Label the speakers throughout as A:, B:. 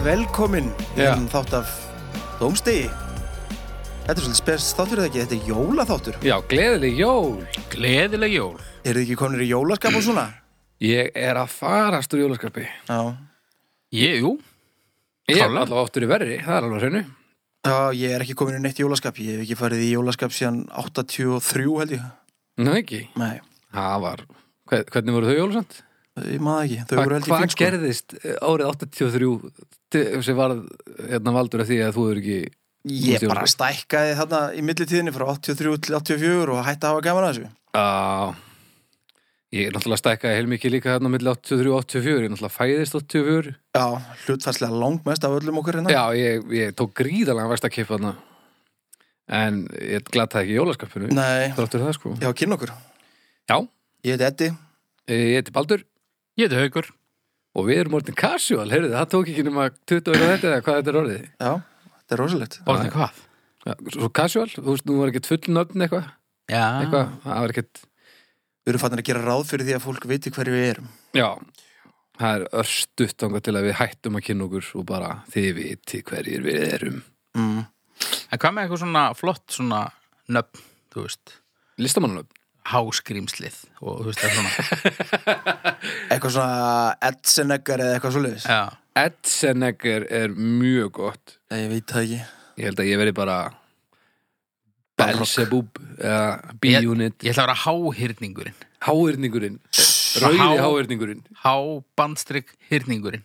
A: velkomin
B: Já.
A: um þátt af Dómstegi Þetta er svolítið spes þáttur eða ekki, þetta er jólaþáttur
B: Já, gleðileg jól.
C: Gleðileg jól.
A: Eru þið ekki konur í jólaskap og svona?
B: Ég er að farast úr jólaskarpi.
A: Já,
C: Ég, jú.
B: Ég er
C: Klálega.
B: allavega áttur í verri, það er alveg á hreinu.
A: Já, ég er ekki komin í neitt jólaskap, ég hef ekki farið í jólaskap síðan 83 held ég
B: Nú ekki.
A: Nei,
B: Það var, hver, hvernig voru þau jólasand?
A: ég maður ekki, þau
B: Hva-
A: voru held ég
B: Hvað
A: fín sko
B: gerðist eh, árið 83 til- sem varð hérna valdur af því að þú er ekki...
A: Ég
B: Þú
A: bara
B: veist,
A: stækkaði þarna í millitíðinni frá 83 til 84 og hætti að hafa gaman að þessu
B: Á, ég er náttúrulega stækkaði heilmikið líka hérna á milli 83 og 84. Ég náttúrulega fæðist 84.
A: Já, hlutfarslega langmest af öllum okkur hérna
B: Já, ég, ég tók gríðalega vægst að kippa þarna. En ég glataði ekki jólaskapinu.
A: Nei,
B: Þráttur það sko.
A: já, kynna okkur
B: Já, eh,
A: Ég heiti Eddi
B: ég heiti Baldur.
C: Ég heiti Haugur.
B: Og við erum orðin casual, heyrðu, það tók ekki nema 20 ára þetta eða hvað þetta er orðið.
A: Já, þetta er rosalegt
C: Orðin hvað?
B: Já, Svo casual, þú veist, nú var ekkert full nöfn eitthvað,
C: Já.
B: eitthvað, það var ekkert,
A: Við erum fannir að gera ráð fyrir því að fólk viti hverju við erum
B: já, það er örstutt þangað til að við hættum að kynna okkur og bara þið viti hverjir við erum.
A: mm.
C: En hvað með eitthvað svona flott svona nöfn, þú veist,
B: Listamannunöfn,
C: háskrimslið og þú veist það svona.
A: Eitthvað svona Edseneggar eða eitthvað svoleiðis
C: Já.
B: Edsenegger er mjög gott,
A: Nei, Ég veit það ekki
B: ég held að ég verði bara
A: Barrock.
B: Belzebub eða B-unit,
C: Ég ætla að vera háhyrningurinn.
B: háirningurinn,
C: Há-
B: rauði háirningurinn,
C: Hábandstrygg hyrningurinn.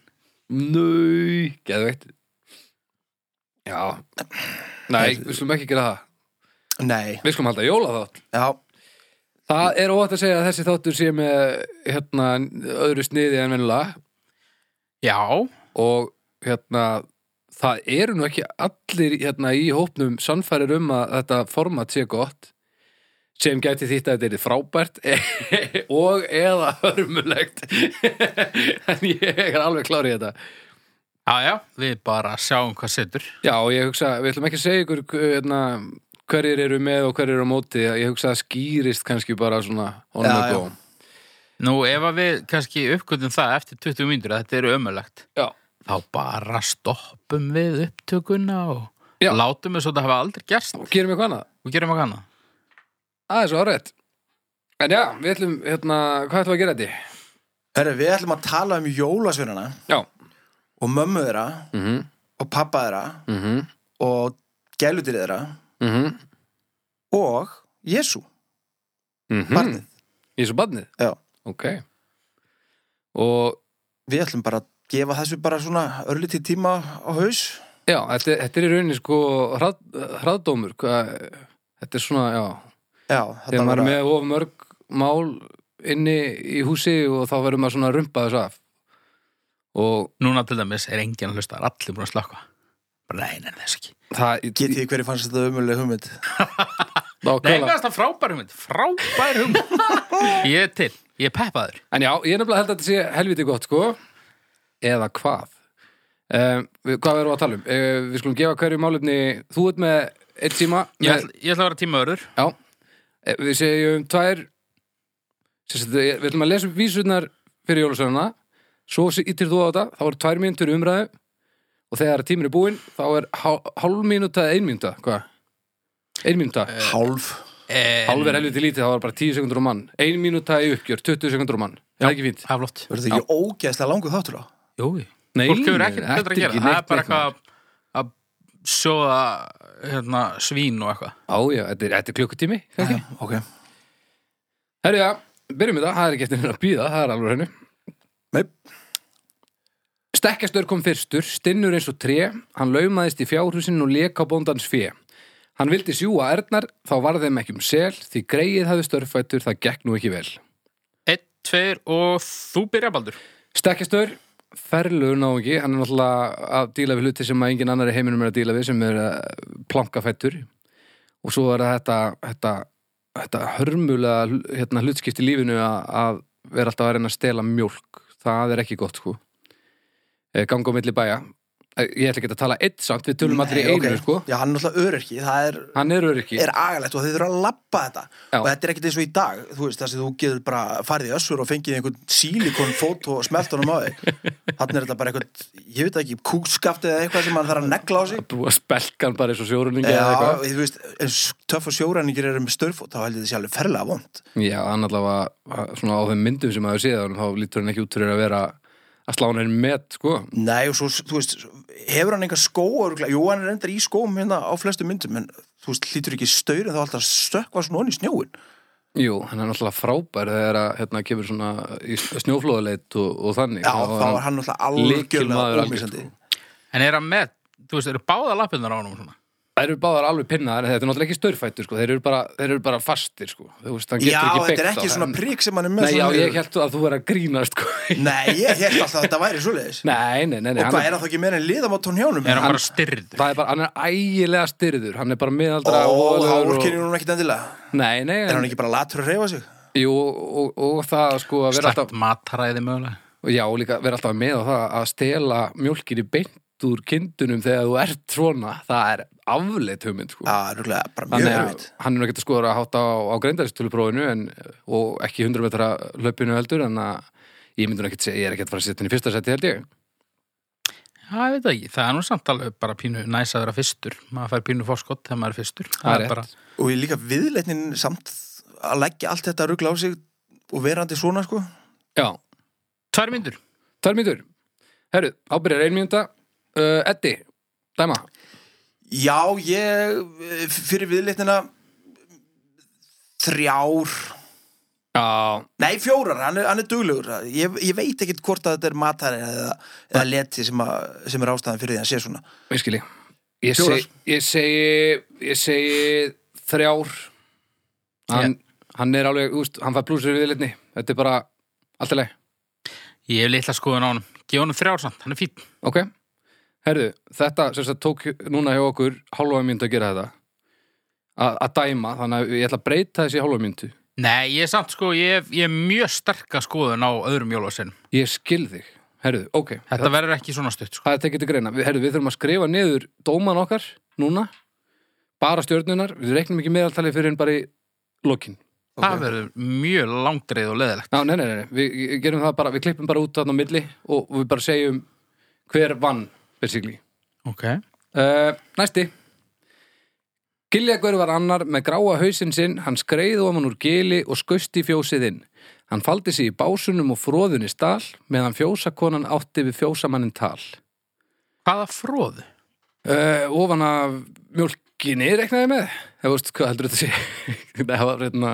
B: Nau, geðveikt Já Nei, við slum ekki gera það
A: Nei,
B: Við slum halda jóla þátt
A: já,
B: Það er óvægt að segja að þessi þáttur sé með hérna, öðru sniði en venjulega
C: Já.
B: og hérna það eru nú ekki allir hérna, í hópnum sannfærir um að þetta format sé gott sem gæti þýtt að þetta er frábært og eða hörmulegt en ég er alveg klár í þetta
C: Já, já. Við bara sjáum hvað setur.
B: Já, og ég hugsa, við ætlum ekki að segja ykkur hérna, hverjir eru með og hverjir eru á móti ég hugsa að það skýrist kannski bara svona on
A: Já,
B: the
A: já.
B: go
C: Nú, ef að við kannski uppgötum það eftir 20 mínútur að þetta eru ömulegt,
B: Já,
C: þá bara stoppum við upptökuna og
B: Já.
C: látum við svo þetta hafa aldrei gerst
B: og gerum eitthvað annað
C: og gerum eitthvað annað.
B: Það er svo horrið En já, við ætlum, hérna, hvað ætlum við að gera þetta?
A: Herra, við ætlum að tala um jólasveinana
B: Já
A: og mömmu þeirra
B: mhm,
A: og pappa þeirra
B: mhm,
A: og gælutir þeirra
B: mhm,
A: og Jésu,
B: mhm
A: barnið
B: Ég er svo badnið?
A: Já.
B: Ok Og,
A: Við ætlum bara að gefa þessu bara svona örlítið tíma á haus
B: já, þetta, þetta er í rauninni sko hrað, hraðdómur hvað, Þetta er svona, já
A: Já,
B: þegar maður er
A: bara-
B: með of mörg mál inni í húsi og þá verður maður svona að rumpa þessu af og
C: Núna til dæmis er enginn að hlusta, það er allir búin að slökka. Bara nei, nei, þess ekki.
B: það
A: Getið þið hverju fannst þetta umuleg hugmynd
C: Nei,
B: nákvæmlega.
C: mér finnst það frábær hugmynd, frábær hugmynd. ég er til, ég er peppaður.
B: en já, ég er nefnilega held að þetta sé helviti gott sko eða hvað um, við, hvað erum við að tala um uh, við skulum gefa hverju málefni þú ert með einn tíma
C: Ég,
B: með,
C: ætla, ég ætla að vera tímaverður.
B: já, Eh, við segjum tvær sérst, við við ætlum að lesa upp vísurnar fyrir jólasöðuna svo yttir þú á þetta, þá er tvær mínútur í umræðu og þegar tímur er búinn þá er hál, hálf mínúta eða ein mínúta hvað? ein mínúta,
A: Hálf
B: hálf er helviti lítið þá er bara 10 sekundur á mann, ein mínúta í uppgjör 20 sekundur á mann, er það ekki fínt?
C: Það er flott.
A: Verður þetta ekki ógeðslega langur þáttur á?
C: Jú, jú.
B: Nei,
C: Fólk hefur ekkert
B: þetta
C: betra að gera,
B: ekki
C: það
B: neitt
C: er
B: neitt
C: bara
B: mál.
C: eitthvað að sjóða hérna, svín og eitthvað.
B: Á, já, þetta er, þetta er klukkutími
A: Já,
B: kannski.
A: ok
B: Herru, já, byrjum við það, það er ekki eftir henni að býða það er alveg henni
A: Nei,
B: Stekkjastur kom fyrstur, stinnur eins og tré, hann laumaðist í fjárhúsinn og leka á bóndans fé. Hann vildi sjúa ernar, þá var þeim ekki um sel, því greið hafði störfættur, það gekk nú ekki vel.
C: Einn, tveir og þú byrja baldur.
B: Stekkjastur, ferlugur náungi, hann er náttúrulega að díla við hluti sem að engin annar í heiminum er að díla við, sem er að planka fættur. Og svo er það þetta, þetta, þetta hörmulega hérna, hlutskipti í lífinu að, að vera alltaf að reyna að stela mjólk. Það er ekki gott, sko. Eh, Ganga á milli bæja. ég ætla ekki að tala eitt samt, við tölum allir í
A: Nei,
B: einu,
A: ok.
B: sko.
A: Já, hann er náttúrulega öryrki, það er,
B: Hann er öryggi.
A: er agalegt og þau þurfa að labba þetta
B: Já.
A: og þetta er ekkert eins og í dag, þú veist, þess að þú getur bara farið í össur og fengið einhvern sílikon fótó og smelt honum á þig þannig er þetta bara eitthvað, ég veit ekki kúkskaft eða eitthvað sem hann þarf að negla á sig
B: Búið að spelka hann bara eins og sjóruningi eða
A: Já,
B: eitthvað.
A: þú veist, eins töff og sjóræningir eru með störfót, þá held ég þessi alveg ferlega vond
B: Já, hann allavega, svona á þeim myndum sem maður séð, hann, þá lítur hann ekki út fyrir að vera að slá hann einn met, sko.
A: Nei, og svo, þú veist, hefur hann enga skó örugglega? Jú, hann er endar í skóm hérna á flestu myndum, en þú veist, hlýtur ekki staurinn þá alltaf að stökkva svona onni í snjóin
B: Jú, hann er náttúrulega frábær þegar að hérna kemur svona í snjóflóðaleit og, og þannig.
A: Já,
B: Þá
A: þá var hann náttúrulega
B: lykilmaður
A: algjörlega
B: algjört,
A: ómissandi
B: sko.
C: En er hann með, þú veist, eru báða lappirnar á honum svona?
B: Þær eru báðar alveg pinnaðar, en þetta er náttúrulega ekki störfættur, sko. Þeir eru bara, þeir eru bara fastir, sko. Þú veist, hann getur
A: Já,
B: ekki byggt
A: þetta er ekki svona prík sem hann er með
B: Nei, já,
A: svona-
B: ég held að þú er að grínast, sko.
A: Nei, ég held alltaf að þetta væri svoleiðis
B: Nei, nei, nei, nei
A: Og
B: hann
A: hvað, er hann þá ekki meira en liðamátón hjónum?
C: Er hann bara styrð?
B: Það er bara, hann er ægilega styrður, hann er bara miðaldra
A: Ó,
B: voðalegur
A: hálfkynir hún ekkit endilega
B: Nei, nei,
A: Er hann
B: en,
A: ekki bara latur að reyfa sig?
B: jú, og, og, og það sko að vera
C: Slætt
B: alltaf,
C: mataræði mögulega?
B: já, og líka vera alltaf með á það að stela mjólkinni beint úr kindunum þegar þú ert svona, það er afleitt hugmynd, sko.
A: Já, rúglega, bara mjög
B: Þannig að
A: erfitt
B: hann er nú ekkert að skora að hátta á, á greindaristöluprófinu en, og ekki 100 metra löpinu heldur, en að ég myndi nú ekkert segja, ég er ekkert að fara að setja hann í fyrsta seti held ég.
C: Já, ég veit það ekki. Það er nú samt alveg bara pínu næs að vera fyrstur. Maður fær pínu fórskott þegar maður er fyrstur.
B: Það er
C: bara,
B: rétt.
A: og ég líka viðleitnin samt að leggja allt þetta ruggla á sig og verandi svona sko
B: Já,
C: tvær myndur.
B: tvær mínútur. Herru, ábyrjar ein mínúta. Uh, Eddi, dæma.
A: já ég eh, fyrir viðleitnina þrjár
B: Já,
A: nei fjórar, hann er, hann er duglegur ég, ég veit ekkit hvort að þetta er matari eða, eða leti sem, að, sem er ástæðan fyrir því að sé svona
B: Ég skilji Ég,
A: Fjórar.
B: seg, ég segi ég segi þrjár hann, hann er alveg úst, hann fær blúsur við litni þetta er bara allt í leið
C: Ég hef litla skoðun á honum. Gef honum þrjár samt, hann er fín.
B: ok, herðu, þetta sem sagt tók núna hjá okkur hálfa mynd að gera þetta A, að dæma, þannig að ég ætla að breyta þessi hálfa myndu
C: Nei, ég er samt sko, ég hef, ég hef mjög sterka skoðun á öðrum jólaseinum.
B: ég skil þig, herðu, ok
C: Þetta verður ekki svona stutt sko.
B: það er tekið til greina, við, herðu, við þurfum að skrifa niður dóman okkar núna bara stjörnunar, við reiknum ekki meðaltalið fyrir en bara í lokin
C: Það verður mjög langdreið og leðilegt.
B: Ná, nei, nei, nei, nei, við við gerum það bara, við klippum bara út þarna á milli og og við bara segjum hver vann, basically.
C: Ok.
B: Uh, næsti. Giljagur var annar með gráa hausinn sinn, hann skreið ofan úr gili og skausti fjósið inn. Hann faldi sig í básunum og fróðunni stál meðan fjósakonan átti við fjósamannin tal.
C: Hvaða fróðu?
B: Uh, ofan af mjólkinni reiknaði ég með. Það veist, hvað heldur þetta sé? það var hérna...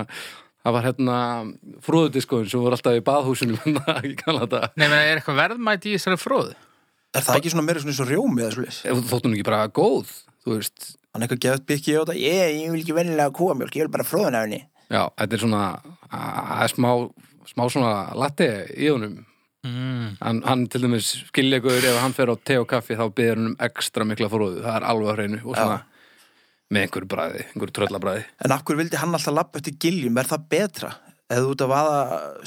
B: Það var hérna fróðudiskoðin sem voru alltaf í baðhúsunum í Kanada.
C: Nei, menn, er eitthvað verðmæti í þessari fróðu?
A: er það ekki svona meira svona eins og rjómi eða svoleiðis?
B: ef þú þótt hún ekki bara góð þú veist,
A: hann eitthvað gefið byggi á þetta ég, ég vil ekki vennilega kúamjólk, ég vil bara fróðan af henni
B: já, þetta er svona að smá, smá svona latte í honum
C: Mm.
B: hann, hann til dæmis skiljagur ef hann fer á te og kaffi þá byrður hann um ekstra mikla fróðu það er alveg á hreinu og svona með einhverju bræði, einhverju tröllabræði
A: en af hverju vildi hann alltaf lappa eftir giljum, er það betra? eða þú ert að vaða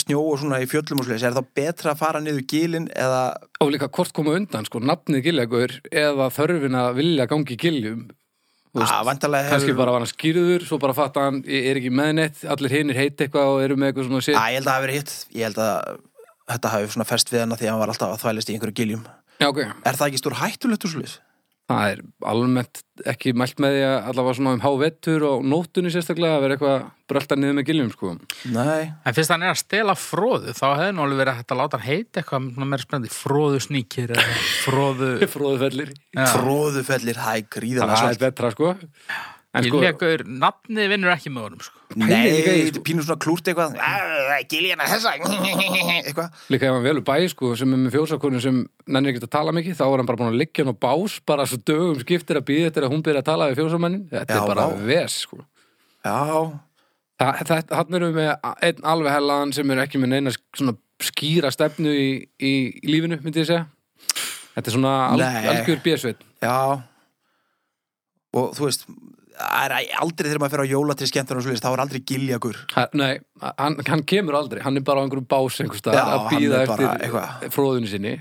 A: snjó og svona í fjöllum og svoleiðis, er þá betra að fara niður gilin eða
B: og líka hvort koma undan, sko, nafnið giljagur eða þörfin að vilja gangi giljum Þú veist,
A: að vantarlega Ah,
B: kannski
A: hefur
B: bara var hann skýrður svo bara fatta hann, ég er ekki með neitt allir hinir heiti eitthvað og eru með eitthvað svona sér
A: að ég held að það hafi verið hitt ég held að þetta hafi svona fest við hana því að hann var alltaf að þvælist í einhverju giljum
B: já, ok,
A: er það ekki stór hættulegt úr svoleiðis?
B: Það er almennt ekki mælt með því að allavega svona um hávettur og nóttunni sérstaklega að vera eitthvað brölda niður með giljum sko.
A: nei,
C: En fyrst hann er að stela fróðu, þá hefði nú alveg verið hægt að láta hann heita eitthvað svona meira spennandi fróðu sníkir eða fróðu...
B: Fróðufellir.
A: tróðufellir, það er gríðan
B: Það er betra sko. En sko,
C: Giljagur, nafnið vinnur ekki með honum, sko.
A: nei,
B: pælir líka í,
A: þetta
B: sko.
A: er pínur svona klúrt eitthvað giljana þessa eitthvað,
B: líka ef hann velur bæ sko sem er með fjósakonum sem nennir ekkert að tala mikið þá er hann bara búin að liggja hann á bás bara svo dögum skiptir að býða eftir að hún byrja að tala við fjósamannin. Þetta
A: Já,
B: er bara
A: vá.
B: ves sko.
A: já
B: Þa- þetta- Þarna erum við með einn alveg hellaðan sem er ekki með neina svona skýra stefnu í, í, í lífinu, myndi ég segja. Þetta er svona al,
A: Nei.
B: algjör björsveit.
A: Já Og þú veist það er aldrei þegar maður fer á jólatri skemmtur og svolítið, þá er aldrei giljagur
B: Ha- Nei, hann, hann kemur aldrei, hann er bara á einhverjum bás einhverstað
A: Já,
B: að
A: hann
B: býða
A: er bara
B: eftir
A: eitthvað.
B: fróðunni sinni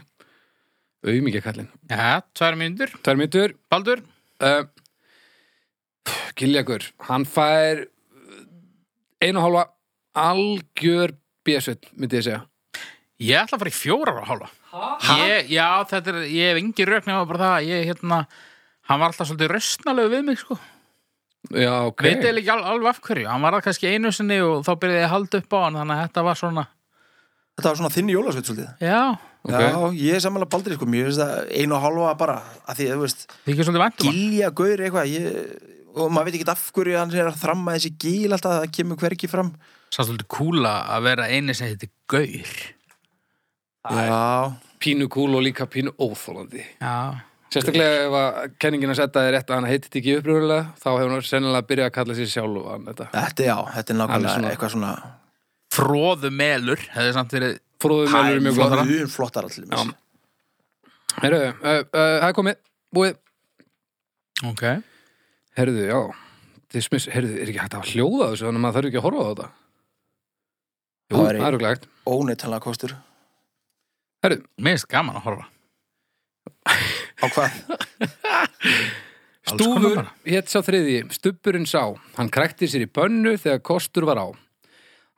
B: auðmikið kallinn.
C: Já, tvær mínútur.
B: Tvær myndur,
C: Baldur?
B: uh, Giljagur, hann fær uh, einu og hálfa algjör bjössut, myndi ég segja.
C: Ég ætla að fara í fjórar og hálfa.
B: Ha?
C: Ég, já, þetta er, ég hef engin rökn eða bara það að ég, hérna, hann var alltaf svolítið röstnalegu við mig, sko.
B: Já, ok.
C: Veit eða ekki al, alveg af hverju. Hann var það kannski einu sinni og þá byrjaði ég að halda upp á hann, þannig að þetta var svona,
A: Þetta var svona þinn jólasveit svolítið
C: já,
B: Ok.
A: Já, ég er samanlega baldri sko, mér finnst það einu og halva bara að því, þú veist,
C: því ekki svolítið væntum hann.
A: gilja gaur eitthvað ég, og maður veit ekki af hverju hann er að þramma þessi gil alltaf það kemur hvergi fram
C: Sá svolítið kúla að vera eini sem heiti Gaur.
A: Já,
B: Pínu kúl og líka pínu óþólandi.
C: Já,
B: Sérstaklega ef að kenningin að setja þið rétt að hann heitit ekki uppröðulega, þá hefur hann sennilega byrjað að kalla sér sjálfan þetta.
A: þetta, já, þetta er nákvæmlega
B: Hann er svona-
A: eitthvað svona
C: fróðu melur, hefði samt verið
B: Fróðum
A: Það
B: mennur er
A: er
B: mjög góðara.
A: mjög flottar allir
B: Já. Herru, uh, uh, það er komið, búið.
C: Ok
B: Herðu, já. Dismiss, herðu, er ekki hægt að hljóða þessu, þannig að maður þarf ekki að horfa á þetta.
A: Það
B: Jú, það
A: er-
B: er ekki hægt.
A: Óneittalega kostur
C: Mér finnst gaman að horfa
A: Á hvað?
C: Alls konar
B: Stúfur
C: bara.
B: hétt sá þriði, stubburinn sá. Hann krækti sér í bönnu þegar kostur var á.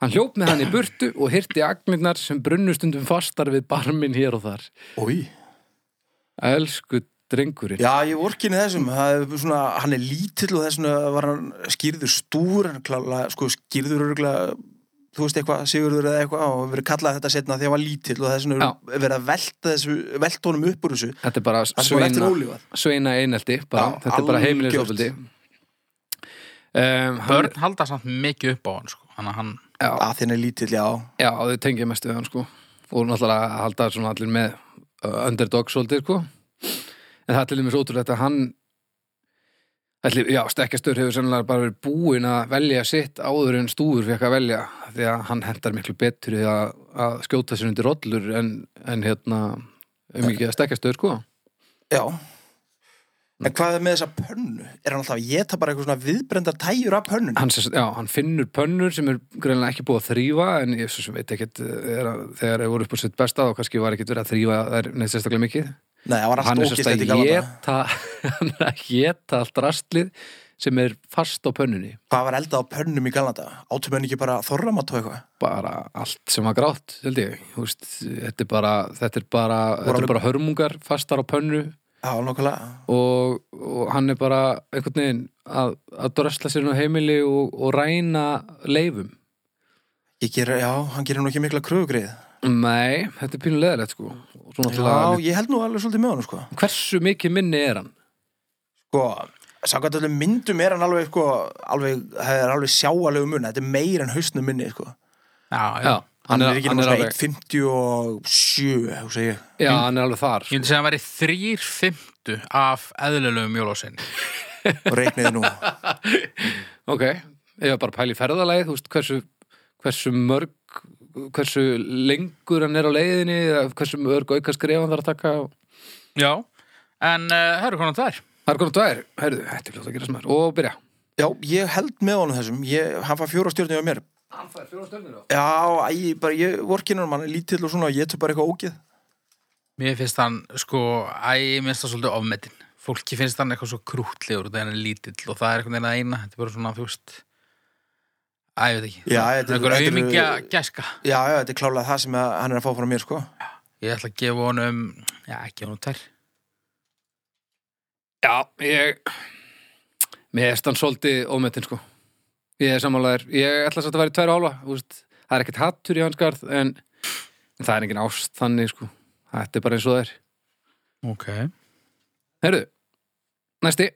B: Hann hljóp með hann í burtu og hirti agnirnar sem brunnustundum fastar við barminn hér og þar.
A: Ói
B: Elsku drengurinn.
A: Já, ég vorkinni þessum, það er svona, hann er lítill og þess vegna var hann skýrður stúr, hann klála, sko, skýrður örgulega, þú veist eitthvað, sigurður eða eitthvað og verið kallað þetta setna þegar hann var lítill og þess vegna er verið að velta þessu, velta honum upp úr þessu,
B: Þetta er bara
A: það sem var eftir
B: sveina,
A: ólífað.
B: sveina einelti. Bara.
A: Já,
B: Þetta er bara
A: algjört.
B: heimilisofildi. Um, hann,
C: Börn halda samt mikið upp á hann sko. Þannig að hann
B: já,
A: Að þinn er lítill, já,
B: já, þau tengja mest við hann sko. Og náttúrulega að halda svona allir með uh, underdog svolítið sko. En það er til dæmis ótrúlegt að hann ætli, já, stekkjastur hefur sennilega bara verið búinn að velja sitt áður en stúfur fekk að velja því að hann hendar miklu betur í að, að skjóta sér undir rollur en, en hérna um ekki að stekkjastur sko.
A: já.
B: Mm.
A: En hvað er með þessa pönnu? Er hann alltaf að geta bara eitthvað svona viðbrendar tæjur af pönnun?
B: hann, sem sagt- já, hann finnur pönnur sem er greinlega ekki búið að þrýfa en ég svo sem veit ekkert eh, er, þegar þeir voru upp á sitt besta þá kannski var ekkert verið að þrýfa þær neitt sérstaklega mikið
A: Nei, það var
B: hann
A: alltaf
B: er sérst
A: ógist
B: að
A: eftir galata.
B: geta hann er að geta allt rastlið sem er fast á pönnunni
A: Hvað var eldað á pönnum í galata? Átum henni ekki bara þorramat og eitthvað?
B: bara allt sem var grátt held ég, Þú veist, þetta er bara þetta er bara, þetta
A: alveg-
B: er bara hörmungar fastar á pönnu
A: Já, nokkulega.
B: og, og hann er bara einhvern veginn að, að drösla sér nú heimili og, og ræna leifum
A: Ég ger, já, hann gerir nú ekki mikla kröfugrið.
B: Nei, þetta er pínulegilegt sko Og
A: Já,
B: svo náttúrulega-
A: ég held nú alveg svolítið með honum, sko.
B: Hversu mikið minni er hann?
A: Sko, samkvæmt öllum myndum er hann alveg, sko, alveg, það er alveg sjáalegu mun, þetta er meir en hausnum minni, sko.
C: Já, já.
B: Já,
A: Hann, er ekki
B: hann er
A: náttúrulega
B: alveg
A: 1.57, þú segir.
B: Já, hann er alveg þar
C: Ég
B: sko.
C: myndi segja að hann væri þrýr fymtu af eðlilegum jólásin
A: Og reikniði nú.
B: Ok, ég var bara að pæla í ferðalagið Þú veist, hversu, hversu mörg Hversu lengur hann er á leiðinni eða Hversu mörg auka skref hann þarf að taka og...
C: Já En uh, herru konar það er
B: Það er konar tvær, heyrðu, þetta er ljótt að gera smar Og byrja
A: Já, ég held með honum þessum. Ég, hann fær fjóra stjórnir á mér.
B: Hann fær fjóra stjörnir á
A: Já, æ, bara, ég vorkinur hann, hann er lítill og svona, ég tök bara eitthvað ógeð.
C: Mér finnst hann sko Æ, mér finnst það svolítið ofmetinn Fólki finnst hann eitthvað svo krútlegur Þegar hann er lítill og það er eitthvað neina eina Þetta er bara svona, þú veist Æ, ég veit ekki
A: Já,
C: Það er
A: þetta er-
C: Einhver
A: þetta er-
C: auðmingja gæska
A: Já, já, þetta er klálega það sem að, hann er að fá frá mér, sko.
C: Ég ætla að gefa honum Já, ekki honum tær
B: Já, ég Mér erst hann svolítið ómetin sko Ég er sammálaður Ég ætla samt að vera í tværa hálfa þú veist. Það er ekkert hattur í hans garð en, en það er engin ást þannig sko Þetta er bara eins og það er
C: okay.
B: Herðu, næsti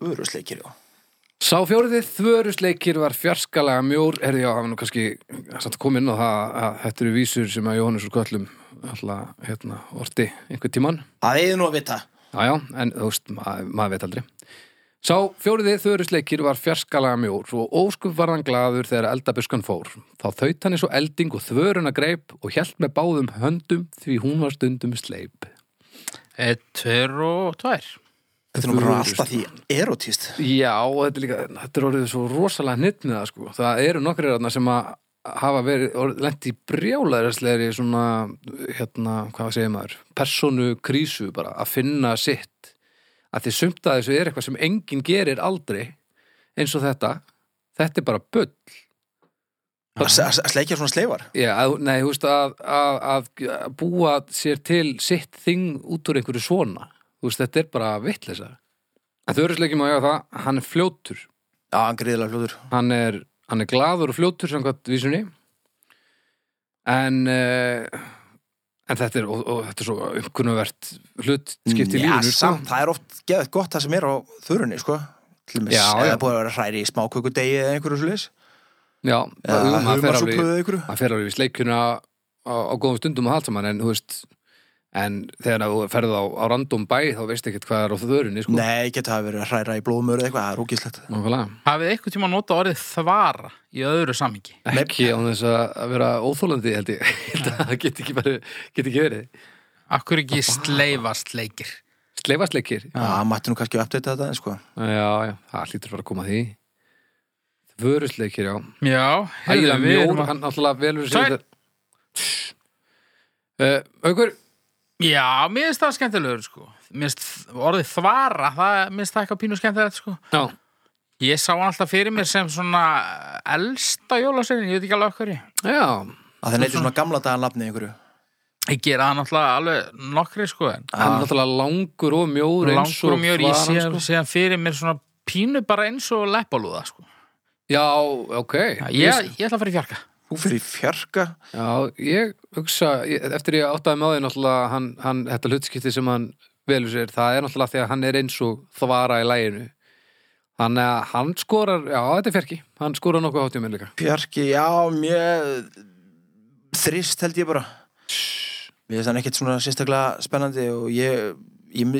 A: Örusleikir, já.
B: Sá fjóriðið þvörusleikir var fjarskalega mjór Herðu, já, það var nú kannski satt að koma inn á það að þetta eru vísur sem að Jóhannes úr Köllum alltaf, hérna, orti einhvern tímann
A: Það eigið nú að vita.
B: Jájá, en þú veist, maður, maður veit aldrei. Sá fjóriði þörusleikir var fjarskalega mjór og óskup var hann glaður þegar eldabuskan fór. Þá þaut hann eins og elding og þvöruna greip og hjælt með báðum höndum því hún var stundum sleip.
C: Eitt, tveir og tvær
A: Þetta er nú bara
B: Þvörusleikir.
A: alltaf því erotíst.
B: Já, og þetta er líka, þetta er orðið svo rosalega hnitt með það sko. Það eru nokkrir þarna sem að hafa verið lent í brjálæðislegri svona, hérna, hvað segir maður personu krísu bara, að finna sitt að því sumt að þessu er eitthvað sem enginn gerir aldrei eins og þetta þetta er bara bull
A: að s- að sleikja svona sleifar
B: Já, að, nei, þú veist að, að, að búa sér til sitt þing út úr einhverju svona þú veist, þetta er bara vitleisa en þau eru sleikjum að eiga það, hann er fljótur
A: Já, hann gríðilega fljóður
B: hann er, hann er glaður og fljótur samkvæmt vísunni en uh, en þetta er, og, og þetta er svo umkunnuvert
A: Mm,
B: hlutskipt í
A: Já,
B: lífinu sko.
A: samt, það er oft geðvægt gott það sem er á þurrunni, sko Til með
B: Já, já.
A: eða búið að vera hræri í smákökudegi eða einhverju svoleiðis
B: já,
A: Eða
B: maður- maður fer
A: humarsúpu
B: alveg
A: eða einhverju
B: hann fer alveg í sleikjuna á, á góðum stundum og allt saman en þú veist en þegar þú ferð á, á random bæ þá veist ekkert hvað er á þörunni sko.
A: Nei, geta það verið að hræra í blóðmöru eða eitthvað, það er úkislegt
B: Nákvæmlega.
C: Hafið eitthvað tíma að nota orðið þvara í öðru samingi?
B: ekki án þess að að vera óþólandi held ég Ég held að það get ekki, bara, get ekki verið
C: Akkur ekki sleifast leikir?
B: sleifasleikir
A: Já, mætti nú kannski að uppdata þetta, en sko
B: já, já, það hlýtur bara að koma að því vörusleikir, já
C: Já,
B: Ægilega
C: heyrðu, við
B: mjór,
C: erum að...
B: hann náttúrulega velur
C: Sæll.
B: sér uh, Aukur,
C: Já, mér finnst það skemmtilegur, sko. Mér finnst orðið þvara, það, mér finnst það eitthvað pínu skemmtilegt, sko.
B: já,
C: Ég sá hann alltaf fyrir mér sem svona eh, elsta jólasveinin, ég veit ekki alveg okkur ég.
B: já
A: að það neyti svona gamla dagan lafni einhverju
C: Ég gera það náttúrulega alveg nokkri, sko, en
B: hann er náttúrulega langur og sko. mjór eins
C: langur og sko. mjög í
B: þvaran,
C: síðan, síðan fyrir mér svona pínu bara eins og leppalúða, sko.
B: Já, ok
C: Ég, ég ætla að fara í fjarka.
A: Þú fyrir fjarka
B: Já, ég hugsa, ég, eftir ég áttaði með því náttúrulega hann, hann, þetta hlutskipti sem hann velur sér, það er náttúrulega því að hann er eins og þvara í læginu Þannig að hann skorar, já þetta er fjarki hann skorar nokkuð hátíum minn líka
A: Bjarki, já, mér þrist held ég bara Mér finnst hann ekkit svona sérstaklega spennandi og ég, ég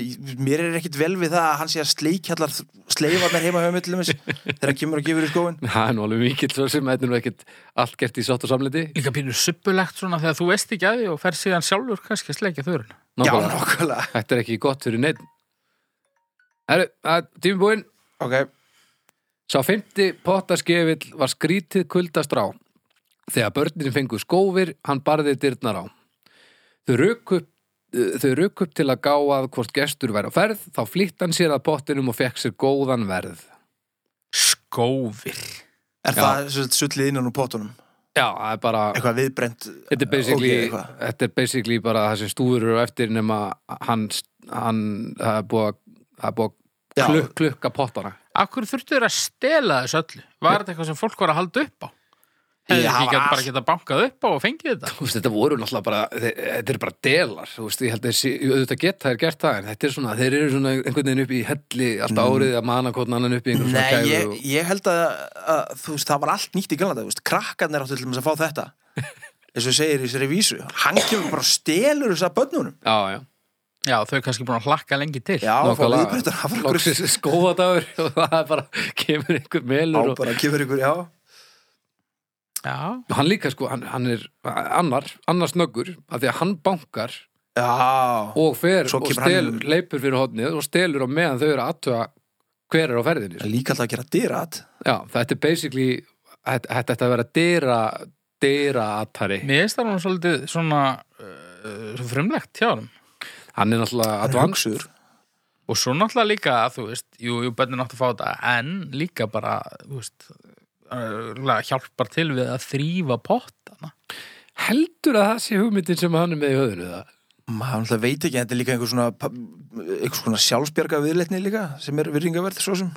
A: mér er ekkit vel við það að hann sé að sleikjallar sleifarnar heima hjá mér til þess þegar hann kemur og gefur í skóin
B: Það er nú alveg mikill svo sem þetta er nú ekkert allt gert í sátt og samliti
C: Líka pínu suppulegt svona þegar þú veist ekki að því og fer síðan sjálfur kannski að sleikja þurrun.
A: Já,
B: Nákvæmlega.
A: nokkulega
B: Þetta er ekki gott fyrir neitt Herru, að tími búinn
A: Ok,
B: Sá fymti pottarskefill var skrítið kuldastrá Þegar börnin fengu skófir, hann barði dyrnar á Þau rauk upp eh, Þau rauk upp til að gá að hvort gestur væri á ferð, þá flýtt hann sér að pottinum og fekk sér góðan verð.
C: Skófir.
A: er það sem sagt sullið innan úr pótunum?
B: Já, það er bara,
A: Eitthvað viðbrent
B: þetta er basically,
A: ógeð eitthvað.
B: þetta er basically bara það sem stúður eru á eftir nema hann, hann, það er búið að, það er búið
A: Já.
B: að klukk, klukka pottana.
C: Akkur þurftu þeir að stela þessu öllu? Var þetta eitthvað sem fólk var að halda upp á? Hefði
A: Já,
C: ekki gæti
A: allt.
C: bara geta bankað upp á og fengið þetta?
B: Þú veist, þetta voru náttúrulega bara, þe- þetta er bara delar, þú veist, ég held að þessi, auðvitað geta þær gert það, en þetta er svona, þeir eru svona einhvern veginn upp í helli, alltaf árið að mana hvort annan upp í einhvern svona
A: Nei,
B: kæfu
A: ég,
B: og,
A: ég held að, að þú veist, það var allt nýtt í galanda, þú veist, krakkarnir áttu til þess að fá þetta eins og segir í þessari vísu hann kemur bara og stelur þess að bönnunum
B: já, já,
C: Já, þau er kannski búin að hlakka lengi til.
A: Já, og fá viðbrent að hafa einhverju
B: loksis skóðadagur og það er bara, kemur einhver
A: á
B: melur og,
A: bara kemur ykkur, já
C: Já.
B: hann líka sko, hann, hann er annar, annar snöggur, af því að hann bankar
A: Já,
B: og fer
A: Svo
B: og
A: kemur
B: stelur,
A: hann-
B: leipur fyrir hodnið og stelur á meðan þau eru að aðtöga hver er á ferðinni, sko.
A: líka alltaf að gera dyrat
B: já, þetta er basically, þetta, þetta ætti að vera dyra, dyra attari.
C: Mér finnst það nú svolítið svona uh, frumlegt hjá hann.
B: Hann er náttúrulega advanced
A: Advansur
C: Og svo náttúrulega líka að þú veist, jú, jú, bönnin átt að fá þetta, en líka bara, þú veist, uh, hjálpar til við að þrýfa pottana.
B: Heldur að það sé hugmyndin sem hann er með í höfðinu það?
A: Maður náttúrulega veit ekki, þetta er líka einhver svona pa- einhvers konar sjálfsbjarga viðleitni líka sem er virðingaverð svo sem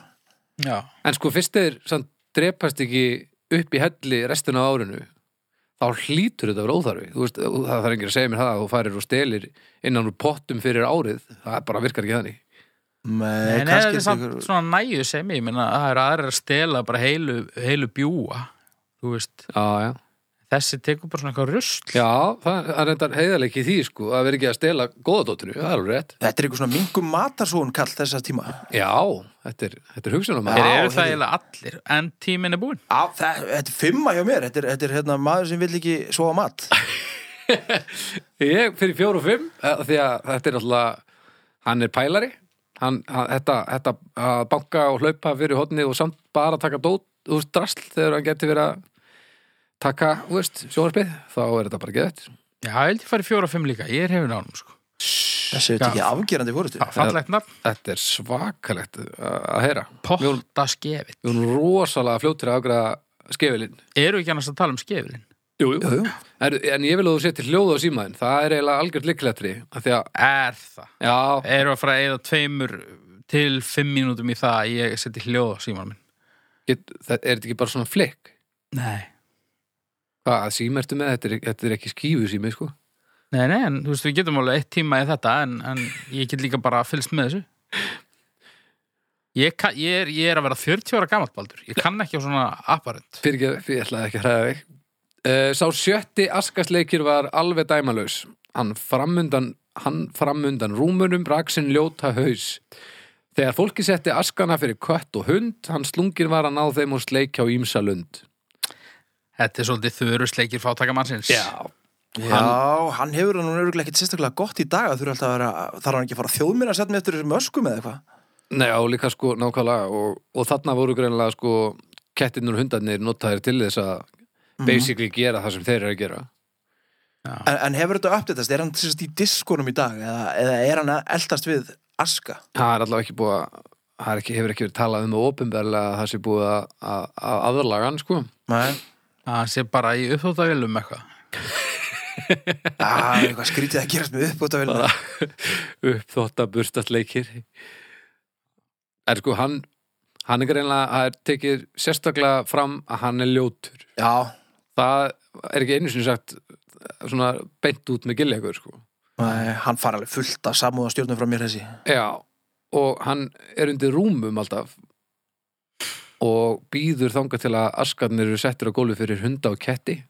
C: Já.
B: En sko fyrst þeir samt drepast ekki upp í helli restina af árinu þá hlýtur þetta að vera óþarfi Þú veist, það þarf enginn að segja mér það að þú farir og stelir innan úr pottum fyrir árið það bara virkar ekki þannig
A: Nei,
C: En er
A: kannski
C: þetta
A: er
C: samt
A: einhver-
C: svona næju sem ég minna að það eru aðrir að stela bara heilu, heilu bjúa þú veist,
B: Já, já,
C: þessi tekur bara svona eitthvað rusl
B: já það það er reyndar heiðarleiki í því sko að vera ekki að stela góðadóttinu, það er alveg rétt
A: Þetta er einhver svona mingum matarsón kall þessa tíma
B: Já, þetta er, þetta er hugsunum
C: þeir
A: Já,
C: eru það
A: heyrðu.
C: eiginlega allir en tíminn er búinn
A: Á, það, Þetta er fimma hjá mér, þetta er, þetta er hérna, maður sem vil ekki sofa mat
B: Ég fyrir fjóru og fimm eh, því að þetta er náttúrulega hann er pælari hann, hann, þetta, þetta að banka og hlaupa fyrir hotnið og samt bara taka dót úr drasl þegar hann geti verið að taka, þú veist, sjónarspið þá er þetta bara geðvægt
C: Já, ég held ég farið fjóra og fimm líka, ég er hefur nánum sko.
A: Þessi er þetta ekki afgerandi fórustu
C: Það fallegt nafn,
B: Þetta er svakalegt að að heyra Við
C: potta skefið
B: erum rosalega fljóttir að afgræða skefilinn
C: Eru ekki annars að tala um skefilin?
B: jú, jú. En, en ég vil að þú setja hljóð á símaðin það er eiginlega algjörð likletri af því að,
C: Er það?
B: já,
C: Eru að fara að eða tveimur til fimm mínútum í það að ég seti hljóð á síman minn?
B: get, það, er þetta ekki bara svona flikk
C: Nei
B: hvað síma ertu með, þetta er, þetta er ekki skífu sími sko.
C: Nei, nei, en þú veist, við getum alveg eitt tíma í þetta en, en ég get líka bara fylgst með þessu ég, kann, ég, er, ég er að vera 40 ára gamalt baldur Ég kann ekki á svona apparent
B: fyrir ekki, fyrir ég ætlaði ekki að hræða þig uh, sá sjötti askasleikir var alveg dæmalaus hann framundan hann framundan rúmunum raksinn ljóta haus þegar fólki setti askana fyrir kött og hund hann slungin var að ná þeim og sleikja á ímsa lund
C: Þetta er svolítið þöru sleikir fátaka mannsins
A: Já, hann hefur hann örgulega ekkit sérstaklega gott í dag að þurfa alltaf að vera, þarf hann ekki að fara þjóðminn að setja mig eftir þessum öskum eða eitthvað
B: Nei, og líka sko nákvæmlega og, og þarna voru greinlega sko kettirnur og hundarnir notaðir til þess að basically gera það sem þeir eru að gera
A: en, en hefur þetta uppdættast, er hann sérst í diskonum í dag eða, eða er hann að eldast við aska?
B: Það er allavega ekki búið að það er ekki, hefur ekki verið talað um það ofinberlega að það sé búið að- að að aðurlaga hann sko
A: Nei,
C: Það sé bara í uppþóttavélum eitthvað
A: það er eitthvað skrítið að gerast með uppbótavelina
B: uppþótta burstastleikir er sko hann hann er greinlega, það er tekið sérstaklega fram að hann er ljótur
A: Já,
B: það er ekki einu sinni sagt svona beint út með gillegur sko
A: Nei, hann far alveg fullt af samúða stjórnum frá mér þessi
B: Já, og hann er undir rúmum alltaf og býður þangað til að askarnir eru settur á gólu fyrir hunda og ketti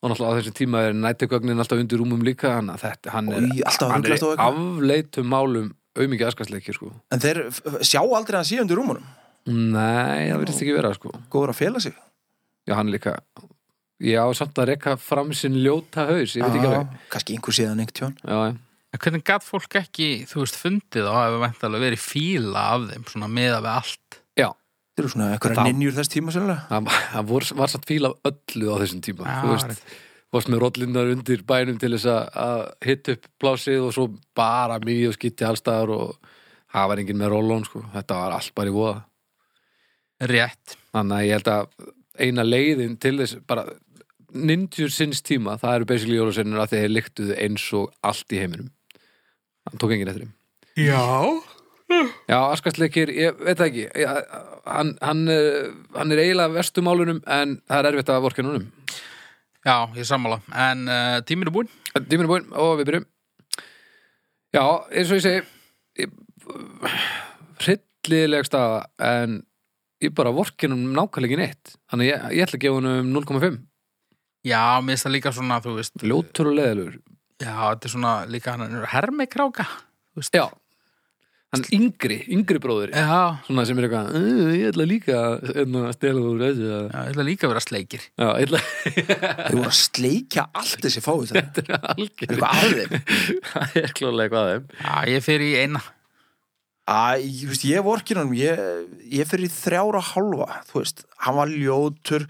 B: og náttúrulega á þessum tíma er nættegögnin alltaf undir rúmum líka hann, þetta, hann er,
A: Í alltaf
B: hann er
A: ruglast á
B: í
A: eitthvað
B: afleitum málum auðmikið askarsleikir sko
A: En þeir f- f- sjá aldrei að hann sé undir rúmunum
B: Nei, það verðist ekki vera sko
A: Góður að fela sig
B: Já, hann líka Já, samt að rekka fram sinn ljóta haus ég veit ekki alveg
A: Já, Kannski einhver síðan einhvern tjón
B: Já,
C: En hvernig gat fólk ekki, þú veist, fundið á að við vænt alveg verið fíla af þeim svona meða við allt
B: já
A: Þeir eru svona
B: Þá-
A: einhverja ninjur þess tíma sérlega
B: það það vor, var satt fíl af öllu á þessum tíma
C: Já,
B: þú veist, varst með rollinnar undir bænum til þess að- að hitta upp blásið og svo bara mýði og skitti allstaðar og það var enginn með rollón sko. þetta var allt bara í voða
C: Rétt
B: þannig að ég held að eina leiðin til þess bara ninjur sinns tíma, það eru basically jólaseinur að þeir líktuðu eins og allt í heiminum hann tók enginn eftir þeim
C: Já
B: Já, Askarsleikir, ég veit það ekki ég, hann, hann, eh, hann er eiginlega vestumálunum en það er erfitt að vorka núnum
C: Já, ég er sammála En uh, tíminn er búinn
B: Tíminn er búinn og við byrjum Já, eins og ég segi ég- hryllileg staða en ég bara vorkinum nákvæmlegin eitt þannig ég, ég ætla að gefa hann um 0,5
C: Já, mér finnst það líka svona, þú veist
B: ljótur og leðalur
C: Já, þetta er svona líka hann hermikráka þú veist.
B: Já, hann yngri, yngri bróður
C: Já,
B: svona sem er eitthvað, "Uh, ég ætla líka að hérna, stela úr þessu að-"
C: já, ég ætla líka að vera sleikir
B: Já, ég ætla
A: Þeir voru að sleikja allt þessi fáið þetta
B: þetta er
A: Er
B: algjör
A: eitthvað að þeim?
B: það er klóðlega hvað þeim
C: Já, ég fer í eina
A: Æ, ég veist, ég vorkin honum Ég, ég fyrir þrjára hálfa Þú veist, hann var ljótur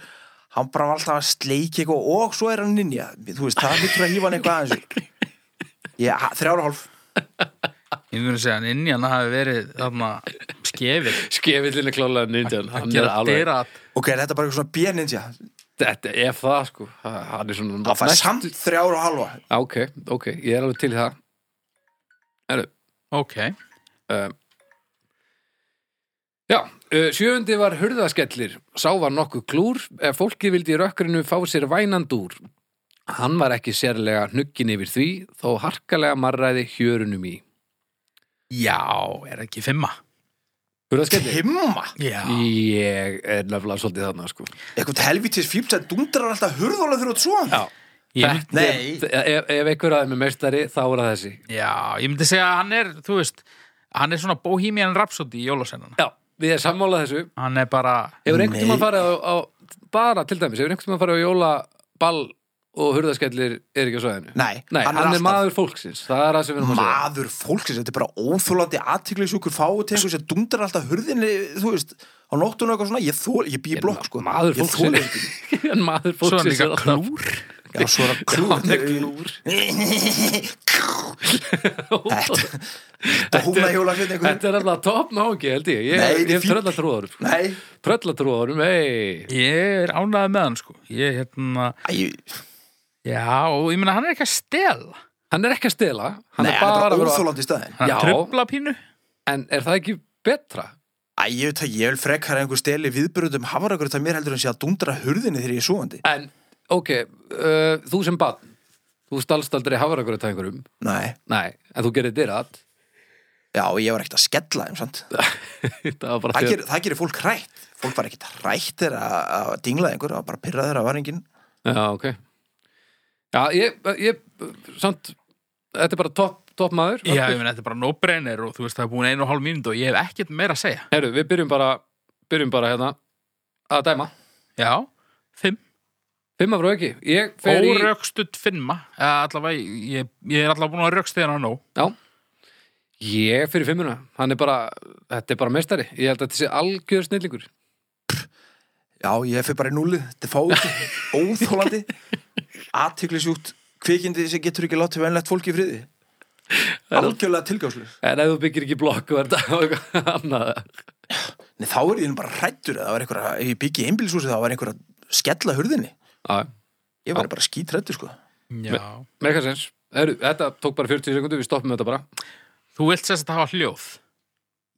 A: Hann bara var alltaf að sleikja eitthvað Og svo er hann ninja Þú veist, það hlutur að hýfa hann eitthvað aðeins Ég, þrjára hálf
C: Ég mun að segja að inni hann hafi verið þarna skefir
B: skefillin er klóðlega ninjan hann er alveg,
C: dyrat
A: Ok, er þetta bara eitthvað svona bjerninja
B: þetta er það sko hann er svona
A: Það fær
B: Næstu-
A: samt þrjára hálfa
B: Já, Ok, ok, ég er alveg til í það Erðu
C: Ok,
B: uh, Já, uh, sjöundi var hurðaskellir Sá var nokkuð klúr Ef fólki vildi í rökkrinu fá sér vænandúr Hann var ekki sérlega hnugin yfir því Þó harkalega marraði hjörunum í
C: já, er ekki fimma
B: Hurðaskellir?
A: Himma
C: Já,
B: Ég er nefnilega svolítið þarna sko
A: Eitthvað helvitis fípt sem dundrar allá alltaf hurðóla þegar þú ert svona
B: Já
C: ég,
B: Þetta-
A: Nei.
B: Ef, ef einhver aðeim er meistari, þá er það þessi
C: já, ég myndi segja að hann er, þú veist Hann er svona Bohemian Rhapsody í jólasennana
B: Já, við erum sammálað þessu
C: Hann er bara
B: Hefur einhvern
A: Nei.
B: tímann farið á, á bara til dæmis, hefur einhvern tímann farið á jólaball og og hurðaskellir er ekki á svæðinu
A: Nei,
B: Nei, hann, er,
A: alltaf
B: maður fólksins, það er það sem við erum að segja
A: maður fólksins, þetta er bara óþólandi aðtiklisjúkur fáutengur sem dundar alltaf hurðinni, þú veist, á nóttunum eitthvað svona, ég, þól, ég býi blokk, sko
B: maður
A: Ég þoli
B: fólksins en maður
C: Svo er hann
B: fólksins
C: líka
B: alltaf-
C: klúr
A: Já, svo er að klúr
B: hann er klúr
A: Þetta Dóna hjólasveit
B: þetta er alltaf top nági held ég ég,
A: Nei, þetta er
B: ég hef
A: fínt.
B: tröllatrúðarum sko.
A: Nei,
B: tröllatrúðarum, hei
C: Ég er ánægð með hann sko Ég, hérna,
A: æ,
C: já, ég meina hann er ekki að stela
B: hann er ekki að stela hann
A: nei, hann
B: er
A: er
B: bara
A: bara
B: að vera
A: óþólandi staðin
B: Já.
C: Hann er tröfla pínu
B: en er það ekki betra?
A: Æ, ég veit að ég vil frekar að einhver steli viðbyrðum hafrakur þetta mér heldur en sé að dundra hurðinni þegar ég er svoandi
B: en ok, uh, þú sem bann þú stalst aldrei hafragröð að einhverjum
A: Nei,
B: nei, en þú gerir þér að
A: já, ég var ekkert að skella þeim, sant
B: það var bara
A: Það,
B: þér
A: ger, það gerir fólk hrætt Fólk var ekkert hrætt þegar að að dingla einhver Það var bara að pyrra þeirra var engin
B: já, ok já, ég, ég samt, þetta er bara topp top maður
C: Já, ég meina, þetta er bara no-brainer og þú veist, það er búin einu og hálf mínútu og ég hef ekkert meira að segja
B: Herru, við byrjum bara, byrjum bara hérna að dæma.
C: Já, fimm
B: Fimm af rauki. Ég fer í...
C: Órökstutt fimma Eða allavega, ég, ég er allavega búin að rökstuða hann á nóg
B: Já. Ég fyrir fimmuna. Hann er bara, þetta er bara meistari. Ég held að þetta sé algjör snillingur.
A: Já, ég fyrir bara í núlið, þetta er fáið Óþólandi Athyglisjúkt, kvikindi sem getur ekki látið venlegt fólk í friði Algjörlega tilgjáðslu
B: En ef þú byggir ekki blokk og þetta og eitthvað annað.
A: Nei, þá er ég nú bara hrættur Það var einhver að, ef ég byggi einbílisúsi þá var einhver að skella hurðinni
B: Já,
A: Ég var bara skítrættur, sko
C: Já
B: með eitthvað sens. Herru, þetta tók bara 40 sekundur, við stoppum þetta bara.
C: Þú vilt sérst að hafa hljóð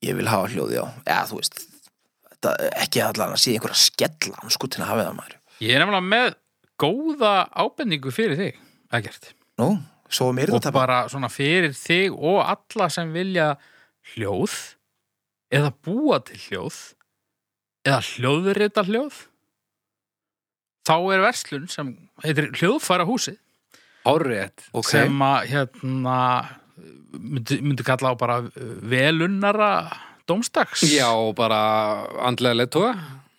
A: Ég vil hafa hljóði á, eða þú veist þetta, Ekki allan að sé einhver að skella hann sko til að hafa það maður
C: Ég er nefnilega með góða ábendingu fyrir þig Ekkert
A: Nú, svo mér
C: Og
A: þetta bara
C: bara svona fyrir þig og alla sem vilja hljóð eða búa til hljóð eða hljóðurita hljóð þá er verslun sem heitir hljóðfæra húsið
B: Hárrétt.
C: sem að hérna myndi, myndi kalla á bara uh, velunnara dómstags
B: Já, bara andlega leittóa.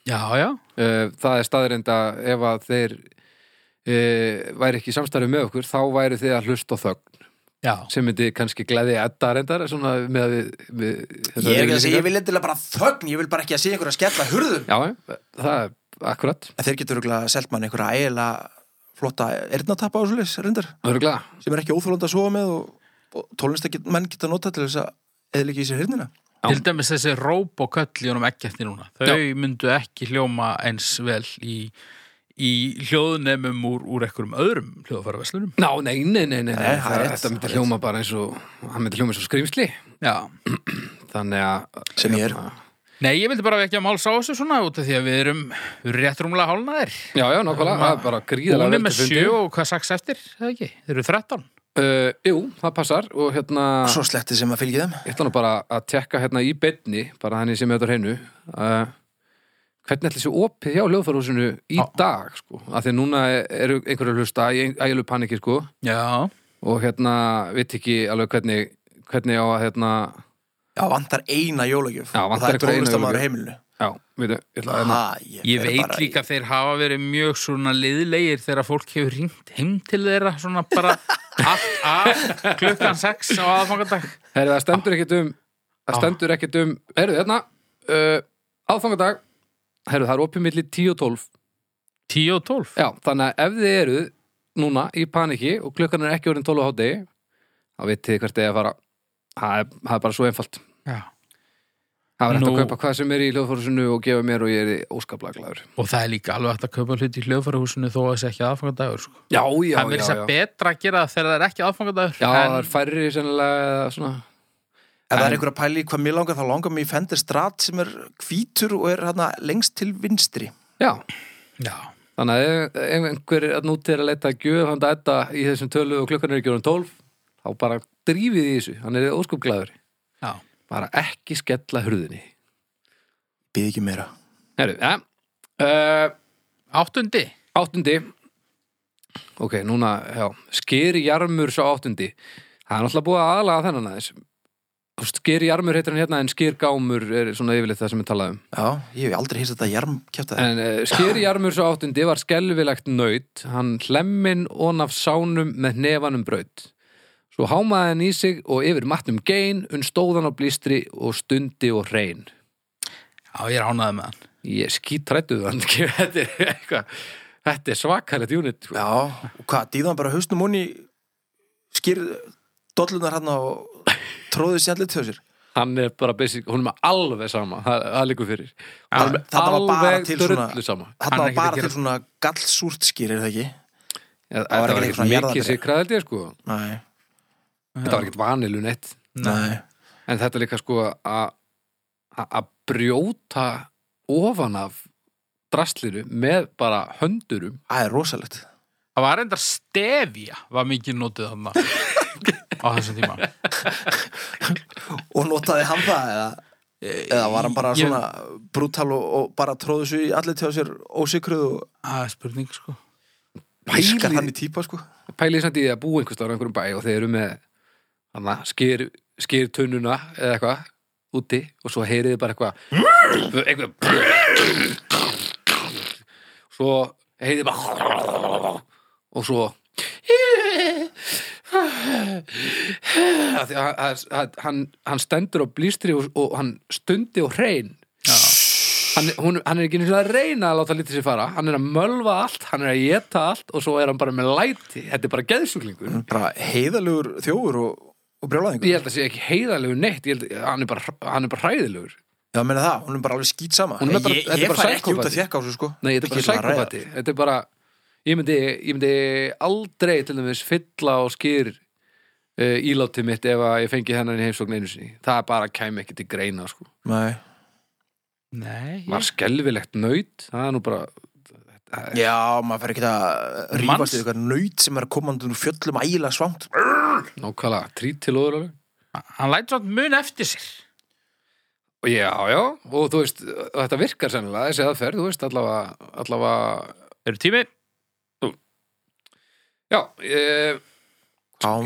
C: já, já,
B: Uh, það er staðrind að ef að þeir uh, væri ekki í samstarfi með okkur, þá væri þið að hlusta á þögn.
C: já.
B: sem myndi kannski gleði Edda reyndar svona með, við- við
A: Ég
B: þessar
A: er ekki að segja, ég
B: yfirlýsingar.
A: vil endilega bara þögn, ég vil bara ekki að sé einhver að skella hurðum
B: Já, já, það er akkurat
A: En þeir getur örugglega selt mann einhverja ægilega flotta erðnatappa ásleis, reyndar,
B: Örgulega,
A: sem er ekki óþólandi að sofa með og, og tólinsta get, menn geta nota til þess að eða í sér hirnina.
B: Já.
C: til dæmis þessi róp og köll í honum ekkerti núna, þau myndu ekki hljóma eins vel í, í hljóðnemum úr, úr einhverjum öðrum hljóðfæra verslunum
B: ná, nei, nei, nei,
A: Nei,
B: nei, nei
A: það er
B: það,
A: rétt,
B: þetta myndi
A: það er
B: hljóma bara eins og hann myndi hljóma eins og skrýmsli
C: já.
B: þannig að
A: Sem ég er.
C: nei, ég vildi bara vekja máls á þessu svona út af því að við erum við erum rétt rúmlega hálnaðir
B: Já, já, nákvæmlega, það er bara gríðalega
C: hún
B: vel
C: er með
B: til fundið.
C: sjö og hvað saks eftir, eða ekki, þeir eru 13
B: uh, Jú, það passar og hérna
A: Svo sletti sem að fylgja þeim.
B: ég ætla nú bara að tekka hérna í beinni bara þannig sem ég þetta hreinu uh, hvernig ætli þessi opið hjá hljóðfarhúsinu í
C: Já.
B: dag, sko, af því að núna eru einhverju að hlusta, ég er alveg paniki, sko
C: já,
B: og hérna veit ekki alveg hvernig hvernig á að hérna
A: Já, vantar eina jólagjöf.
B: Já,
A: Og Það
B: vantar
A: er
B: einhverja eina
A: tónlistamaður
B: jólagjöf.
A: á heimilinu.
B: já, veitu, ég ætla að hérna
A: Ha, ég
C: Ég
A: er
C: veit
A: bara í-
C: líka að þeir hafa verið mjög svona liðlegir þegar fólk hefur ringt heim til þeirra svona bara allt af klukkan 6 á aðfangandag
B: herri, það stendur ekkit um það
C: Á.
B: stendur ekkit um, herri, hérna uh, aðfangadag, herri, það er opið milli 10 og 12,
C: 10 og 12
B: já, þannig að ef þið eru núna í paniki og klukkan er ekki orðin 12 á hátdegi, þá vitið þið hvert þið er að fara, það er, það er bara svo einfalt
C: Já.
B: það er hægt að
C: Nú.
B: kaupa hvað sem er í hljóðfórusinu og gefa mér og ég er óskaplega glæður
C: og það er líka alveg hægt að kaupa hluti í hljóðfærahúsinu þó að þessi ekki aðfangadagur sko.
B: já, já,
C: það er
B: já,
C: mér þess að
B: já.
C: betra að gera það þegar það er ekki aðfangadagur
B: Já, það er
C: en
B: færri sennilega eða svona
A: Ef það
B: En-
A: er einhverja pæli í hvað mér langar, þá langar mér í Fender Strat sem er hvítur og er hana, lengst til vinstri.
B: Já,
C: já,
B: Þannig að ef- ef einhver er að núti er að leta að gjöf hann að etta í þessum tölu og klukkan er ekki orðin 12 þá bara drífið í þessu hann er óskupglæður
C: já.
B: bara ekki skella hurðinni
A: Bið ekki meira.
B: Heru, ja. uh,
C: áttundi
B: Áttundi Ok, núna, já Skeri jarmur sá áttundi Það er náttúrulega búið að aðlaga þennan aðeins Skýr jarmur heitir hann hérna en skýr gámur er um. svona yfirleitt það sem við talaðum
A: Já, ég hef aldrei hýst þetta jarm kjátt að
B: En uh, skýrjarmur svo áttundi var skelvilegt nöyt, hann hlemmin onaf sánum með nefanum braut. Svo hámaði hann í sig og yfir matnum gein, unn stóðan á blístri og stundi og reyn.
C: Já, ég er ánæðið með hann.
B: Ég skítrættuðu hann, ekki, þetta er eitthvað, þetta er svakalegt unit. sko.
A: Já, og hvað, dýðan bara hausnum honni skýr dollunar hann og tróði sér allir til sér
B: Hann er bara basic, hún er með alveg sama, það, það líkur fyrir. Honum er
A: þetta var bara
B: alveg
A: til svona-
B: drullu sama.
A: Hann
C: Hann er
A: var
C: ekkert að
A: bara
C: gera-
A: til svona gallsúrt skýr, er það ekki?
B: Það
A: var
B: var
A: ekkert
B: ekkert
A: svona
B: mikið
A: jarðarber.
B: sikraðið, sko.
A: Nei,
B: Þetta var ekkert vanilun eitt.
A: nei
B: En þetta er líka sko að að- að brjóta ofan af drastlinu með bara höndurum
A: Það er rosalegt
C: Það var reyndar stefja, var mikið notið þarna á þessum tíma.
A: Og notaði hann það eða,
B: Eh,
A: eða var hann bara
C: Ég-
A: svona brútal og, og bara tróði sér í allir til sér ósikruð og
C: Það er spurning, sko.
A: Ískar hann
B: pælið
A: í típa sko
B: pæli samt í að búa einhvers staðar á einhverjum bæ og þeir eru með hana, skýr, skýr tunnuna eða eitthvað úti og svo heyriði bara eitthvað eitthvað svo heyriði bara og svo Af því að- að- að- hann, hann stendur á blístri og, og hann stundi og hrein hann, hún, hann er ekki einu sinni að reyna að láta lítið sér fara hann er að mölva allt, hann er að geta allt og svo er hann bara með læti, þetta er bara geðsuglingur
A: Bara heiðalugur þjófur og, og brjólaðingur
B: ég held að sé ekki heiðalegu neitt ég held, hann, er bara, hann er bara hræðilegur
A: Já, meina það, hún er bara alveg skýt sama
B: Hún er bara-
A: Ég,
B: þetta er
A: ég
B: bara
A: fær ekki út að
B: psychopathy.
A: þjekka á þessu sko
B: nei, þetta er bara
A: Ekki til að ræða.
B: sækopati þetta er bara, ég myndi, ég myndi aldrei til dæmis fylla og skýr uh, ílátið mitt ef að ég fengi hennan í heimsókn einu sinni það bara kæmi ekki til greina sko.
A: Nei
C: Nei,
B: var skelfilegt nöyt það er nú bara
A: Já, maður fær ekki að
C: Manns-
A: rífast í eitthvað nöyt sem er komandun úr fjöllum ægilega svangt
B: nákvæmlega trítilóður alveg
C: hann lætur hann mun eftir sér.
B: Já, já, og þú veist, þetta virkar sennilega, þessi aðferð, þú veist, allavega, allavega,
C: Eru tími?
B: já, e,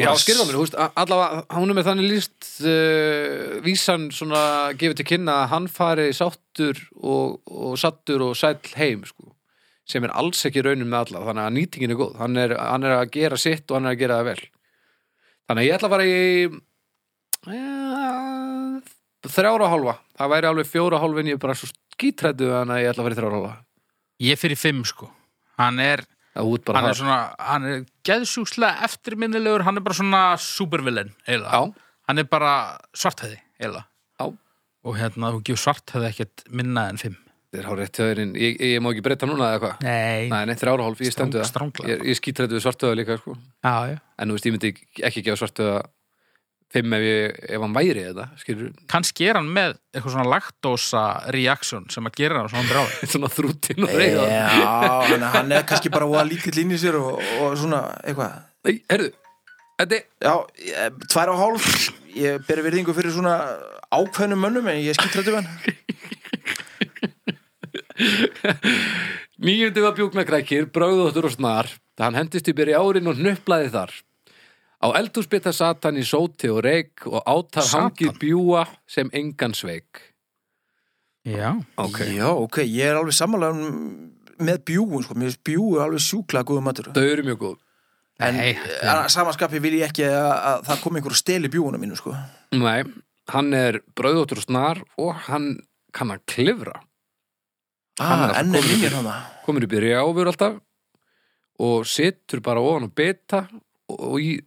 B: já, skilða mér, þú veist, a- allavega, hún er með þannig líst uh, vísan svona gefið til kynna að hann fari sáttur og, og sattur og sæll heim, sko, sem er alls ekki raunin með alla, þannig að nýtingin er góð, hann er, hann er að gera sitt og hann er að gera það vel. Þannig að ég ætla að fara í e, þrjára og hálfa, það væri alveg fjóra og hálfin, ég er bara svo skítrættu þannig að ég ætla að fara í þrjára og hálfa.
C: Ég fyrir fimm, sko. Hann er,
B: Það út bara
C: hann er
B: það.
C: svona, hann er geðsjúkslega eftirminnilegur, hann er bara svona supervillain, eiginlega.
B: Já,
C: Hann er bara svarthæði, eiginlega.
B: Já.
C: Og hérna, þú gefur svarthæði ekkert minna en fimm.
B: þetta er hár rétt þjóðurinn. Ég, ég má ekki breyta núna eða hvað?
C: Nei.
B: Nei, nei, þrjára og hálf, ég stendu það.
C: Stránglega.
B: Ég, ég skítrættu við svartöða líka, sko.
C: Já, já.
B: En þú veist, ég myndi ekki gefa svartöða fimm ef, ég, ef hann væri þetta, skilur
C: Kannski er hann með eitthvað svona laktósa reaksjón sem að gera hann svona dráði.
B: svona þrútin og reyða.
A: Eh.
B: Yeah.
A: Já, þannig að hann er kannski bara voða lítill inn í sér og, og svona eitthvað
B: Nei, herðu, þetta er,
A: Já, ég- tvær og hálf Ég ber virðingu fyrir svona ákveðnum mönnum en ég skýt rættu hann
B: Nýjundi var bjúk með grækir, bröðóttur og snar. Hann hendist yfir í árin og hnuplaði þar. Á eldhúsbytta sat hann í sóti og reik og átar
C: Satan?
B: hangið bjúa sem engan sveik.
C: Já.
A: Já, ok, ég er alveg sammála um, með bjúun, sko, mér finnst bjúu alveg sjúkla góðum matur
B: Þau eru mjög góð.
A: En
C: Nei,
A: að samanskapi vil ég ekki að, að það komi einhver og steli bjúuna mínu, sko
B: Nei, hann er bröðóttur og snar og hann kann að klifra. Hann er
A: ah,
B: alltaf
A: Enn er
B: kominn
A: minnir hann
B: komur upp í rjáfur alltaf og situr bara ofan og beta og, og í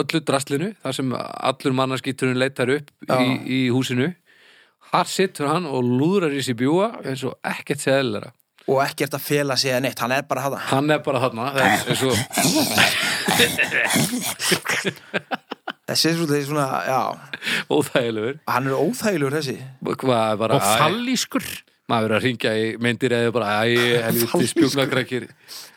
B: öllu draslinu þar sem allur mannarskýturinn leitar upp
A: Já.
B: í, í húsinu þar situr hann og lúðrar í sér bjúa eins og ekkert seðlera
A: og ekkert að fela sig að neitt, hann er bara hann
B: hann er bara þarna það er- eins og,
A: Þessi er svolítið svona, já,
B: óþægilegur
A: hann er óþægilegur þessi
B: hvað er bara
C: og fallískur.
B: maður er að ringja í myndir eða bara æ, helviti
A: Fallískur.
B: spjúknakrækir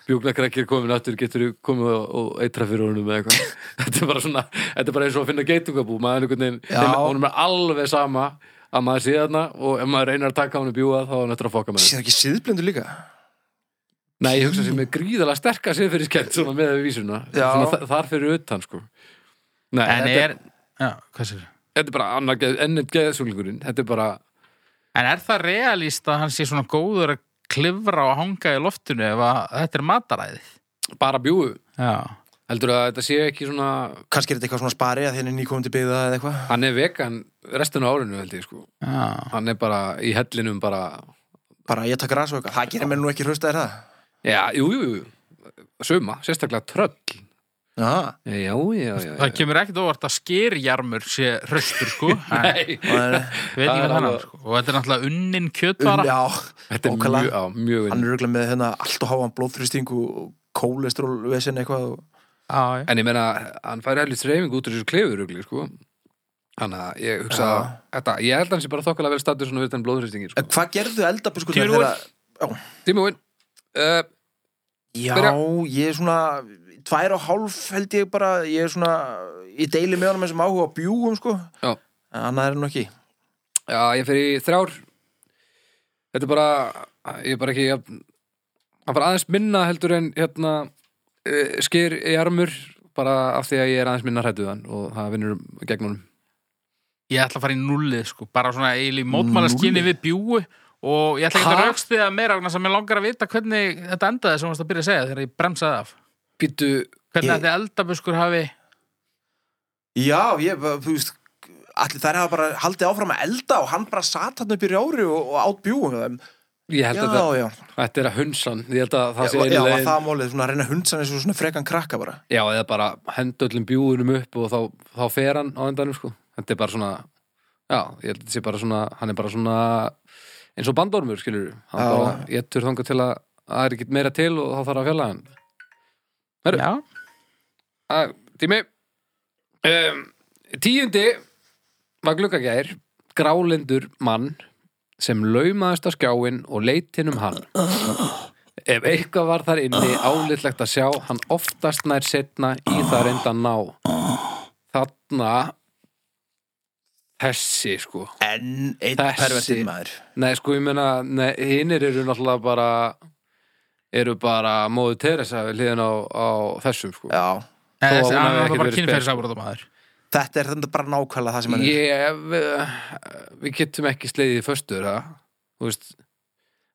B: spjúknakrækir komin aftur getur komið og, og eitra fyrir honum eða eitthvað þetta er bara svona, þetta er bara eins og að finna geitungabú maður er einhvern veginn,
A: Já.
B: þeim- honum er alveg sama að maður sé þarna og ef maður reynar að taka honum bjúa þá er hann eftir að fokka með
A: Sér ekki síðblindu líka
B: nei, ég hugsa sem er gríðalega sterka sér fyrir skemmt svona með við vísuna
A: Já.
B: svona, þar- þar fyrir utan sko nei,
C: En
B: þetta,
C: er, já, hvað sér?
B: þetta er bara annar geð, ennum geðsúlingurinn þetta er bara,
C: En er það realíst að hann sé svona góður að klifra og hanga í loftinu ef að þetta er mataræðið?
B: bara bjúu
C: Já.
B: heldur að þetta sé ekki svona
A: kannski er þetta eitthvað svona spari að þinn er nýkominn til byggða eða eitthvað
B: hann er vegan restinu árinu held ég sko
C: Já.
B: hann er bara í hellinum bara
A: bara ég takk ras og eitthvað, það gerir mér nú ekki hlustaðir það
B: já, jú, jú, jú, suma sérstaklega tröll
A: Já,
B: já, já, já, já.
C: Það kemur ekkert óvart að skýrjarmur sé hraustur sko. Nei.
B: Nei,
A: það er-
C: Við
B: Það
C: veitum
B: er
C: hvað hann
B: alveg-
C: er sko. Og þetta er náttúrulega unnin
A: um,
C: kjötvara.
A: já,
B: þetta er
A: Ókala.
B: mjög, á, mjög
A: hann er röglega með hérna allt og háan blóðþrýsting og kólestról eitthvað og...
C: Já, já.
B: En ég meina, hann fær helvits reyfing út úr þessu klefurugli, sko. Þannig að ég hugsa að
A: Já.
B: þetta, ég held að hann sé bara þokkalega vel stattur svona við þann blóðhristingin,
A: En
B: sko.
A: Hvað gerðu eldabuskunar
C: Tímir úr.
A: þegar
B: Tímúin, uh,
A: Já,
B: Byrja.
A: ég er svona tvær og hálf held ég bara ég er svona, ég deili með honum eins og áhuga á bjúum sko
B: Já.
A: En annað er hann ekki
B: já, ég fer í þrjár. Þetta er bara, ég er bara ekki, jafn- hann bara aðeins minna heldur en, hérna, uh, skýr í armur, bara af því að ég er aðeins minna hrættuð hann og það vinnur gegn honum.
C: Ég ætla að fara í nullið sko. Bara svona eil í mótmála skinni
A: Núllið?
C: við bjúu. Og ég ætla ekki
B: Ha?
C: að raukst við að meira vegna sem ég langar að vita hvernig þetta endaði sem þú varst að byrja að segja þegar ég bremsaði af.
B: Býttu,
C: Hvernig
A: Ég-
C: þetta eldabuskur hafi...
A: Já, ég, bara, þú veist allir þær hafa bara haldið áfram að elda og hann bara satt hann upp í rjári og, og átt bjúum með þeim.
B: ég held
A: Já,
B: að þetta,
A: já,
B: þetta er að hunsan, ég held að það
A: já,
B: sé
A: já,
B: einu
A: var
B: leiðin.
A: það málið, svona að reyna hundsan eins og svona frekan krakka bara
B: Já, eða bara henda öllum bjúunum upp og þá, þá fer hann á endanum sko. Þetta er bara svona Já, ég held að þetta sé bara svona hann er bara svona eins og bandormur, skilur hann
A: Já.
B: bara getur þangað til að að það er ekkert meira til og þá þarf að fjalla hann Herru.
C: Já.
B: að, Tími um, Tíundi var gluggagær grálendur mann sem laumaðist á skjáin og leitinn um hann Ef eitthvað var þar inni álitlegt að sjá hann oftast nær setna í það reynda ná Þarna þessi sko
A: En einn
B: Þessi.
A: pervertinn maður
B: Nei sko ég meina nei, hinnir eru náttúrulega bara eru bara móðu Teresa við hliðin á, á þessum sko
A: Já,
C: Nei,
B: Þó að
C: þessi-
B: hún hafi
C: Hann
B: ekki
C: var bara
B: verið
C: kynferðisafbrotamæður.
A: þetta er þetta bara nákvæmlega það sem hann er
B: Ég, við, við getum ekki slegið í föstur það, þú veist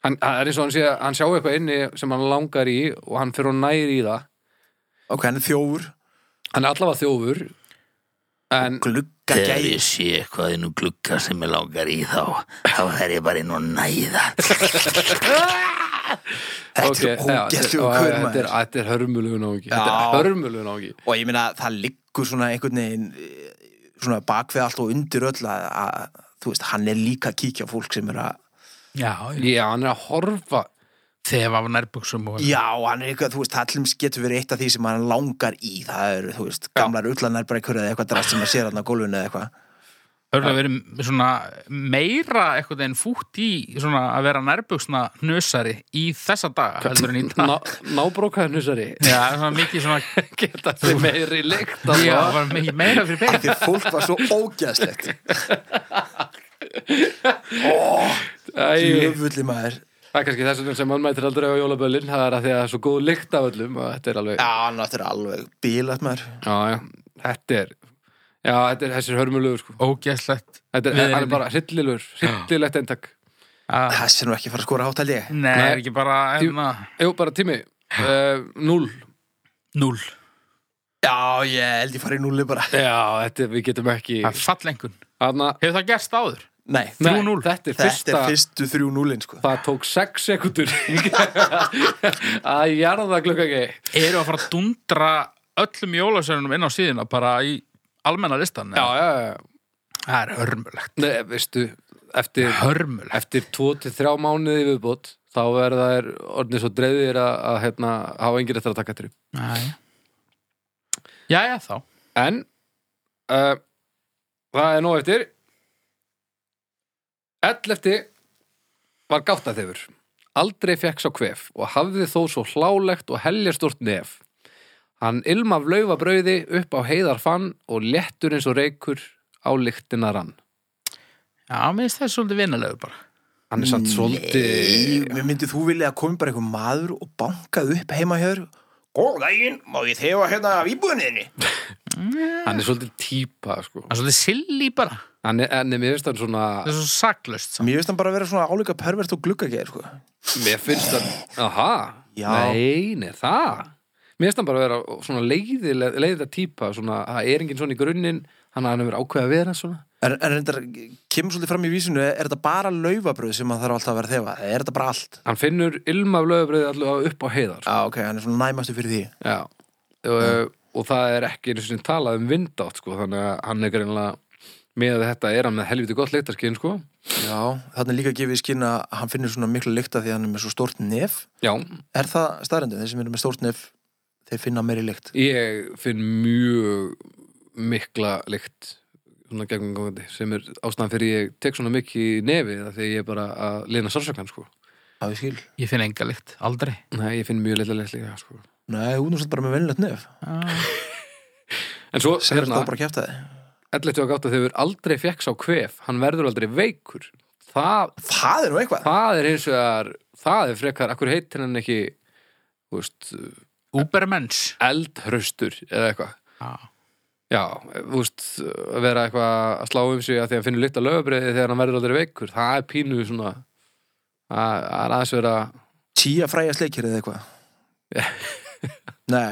B: hann, hann er eins og hann sé að hann sjá eitthvað inni sem hann langar í og hann fyrir og næri í það
A: Ok, hann er þjófur
B: hann er allavega þjófur en
A: Glugga
D: Þegar ég sé eitthvað inn um glugga sem ég langar í þá þá þær ég bara inn og næða
A: Þetta
B: ok,
A: er
B: já,
A: ógæstlegu
B: þetta er- já, þetta
A: kvörmaður
B: er- þetta er hörmulegu náungi þetta
A: Já.
B: er hörmulegu náungi
A: og ég meina það liggur svona einhvern veginn eh, svona bak við allt og undir öll að, að þú veist, hann er líka að kíkja á fólk sem er að,
C: Já, já.
B: já, hann er að horfa
C: Þefa af nærbuksum og...
A: já, hann er eitthvað þú veist, allums getur verið eitt af því sem hann langar í það eru, þú veist, gamlar ullanar bara einhverju eða eitthvað drast sem að sér hann á gólfinu eða eitthvað
C: Örgulega verið svona meira eitthvað en fútt í svona að vera nærbuksna nösari í þessa daga heldur en í dag.
B: Ná- nábrókaður nusari
C: Já, svona mikið svona
B: geta þið meiri lykt allavega.
C: Já, það var mikið meira fyrir
A: Af
C: beint
A: því fólk var svo ógæðslegt
B: Æ,
A: jöfulli maður
B: það er kannski þess vegna sem hann mætir aldrei á jólaböllin það er að því að það er svo góð lykt af öllum og þetta er alveg
A: já, ná, þetta er alveg bílat maður
B: Já, já, þetta er Já, þetta er þessir hörmulegur sko
C: Ógæslegt
B: Þetta er,
C: Við
B: hann er
C: erum-
B: bara hryllilegur, hryllilegt eintak
C: Ah,
A: þessi er nú ekki að fara að skora hátt held ég
C: Nei, er ekki bara hérna, enna
B: Jú, bara tími, uh, núl
C: Núl
A: já, ég held ég fara í núli bara
B: Já, þetta er- við getum ekki
C: Það er fallengun
B: Hanna,
C: Hefur það gerst áður?
A: nei,
B: nei,
C: 3-0.
B: þetta er
A: þetta
B: fyrsta
A: er fyrstu þrjú núlin sko
B: Það tók sex sekundur að jarða gluggagi
C: Eru að fara að dundra öllum jólasörunum inn á síðina bara í almenna listan
B: Já,
C: eða?
B: já, já
C: Það er hörmulegt
B: Nei, veistu, eftir,
C: Hörmulegt
B: eftir 2-3 mánuði viðbútt þá verða þær orðnið svo dreifir að, að hérna, hafa engir eftir að taka eftir því.
C: Jæja þá
B: En uh, það er nóg eftir 11. var gáttaþefur aldrei fekk sá kvef og hafði þó svo hlálegt og heljarstort nef hann ilmaf laufabrauði upp á heiðarfann og léttur eins og reykur á lyktina rann
C: Já, mér finnst það svolítið vinalegu bara
B: hann er satt svolítið
A: Nei, mér myndið þú vilja að komi bara einhver maður og bankað upp heima hjör Góð daginn, má ég þefa hérna af íbúðinni þinni?
B: hann er svolítið típa sko.
C: Það er svolítið silly bara
B: hann er, en mér finnst hann svona
C: Það er svo saklaust samt.
A: Mér finnst hann bara að vera svona álíka pervert og gluggageir sko.
B: mér finnst hann, aha
A: Já.
B: nei, nei, það mér finnst hann bara að vera svona leiðilega leiðilega típa, svona, það er enginn svona í grunninn hann hann hefur ákveða að vera svona
A: En, en reyndar, kemur svolítið fram í vísinu er þetta bara laufabröð sem hann þarf alltaf að vera þefa? Er þetta bara allt?
B: hann finnur ilm af lögabröði allavega upp á heiðar
A: Já, ok, hann er svona næmastu fyrir því
B: Já, og, eh, og það er ekki einu sinni talað um vindátt sko, þannig að hann er greinlega með að þetta er hann með helviti gott leiktarskinn sko.
A: Já, þannig líka gefið í skinn að hann finnir svona miklu lykta því að hann er með svo stórt nef
B: Já,
A: Er það staðrendin? Þeir sem eru með stórt nef þeir finna meiri lykt
B: ég finn mjög mikla lykt svona gegnum gangandi sem er ástæðan fyrir ég tek svona mikið í nefið af því ég er bara að lina sársökan sko.
A: Það við skil
C: Ég finn enga lykt, aldrei
B: Nei, ég finn mjög litla lykt líka sko.
A: Nei, hún er svolítið bara með venilegt nef
C: Ah.
B: En svo,
A: Segir þetta
B: hérna,
A: bara að kjæfta þið
B: 11. gátt að þegar aldrei fekk sá kvef hann verður aldrei veikur það
A: Það er nú eitthvað
B: það er hins vegar það er frekar, akkur heitir hann ekki þú veist,
C: Ubermens
B: eldhraustur eða eitthvað
C: Já.
B: já, þú veist, að vera eitthvað að slá um sig að því að finnur lykt að lögabriði þegar hann verður aldrei veikur, það er pínu svona það það er aðeins vera
A: Tía fræja sleikir eða eitthvað Nei,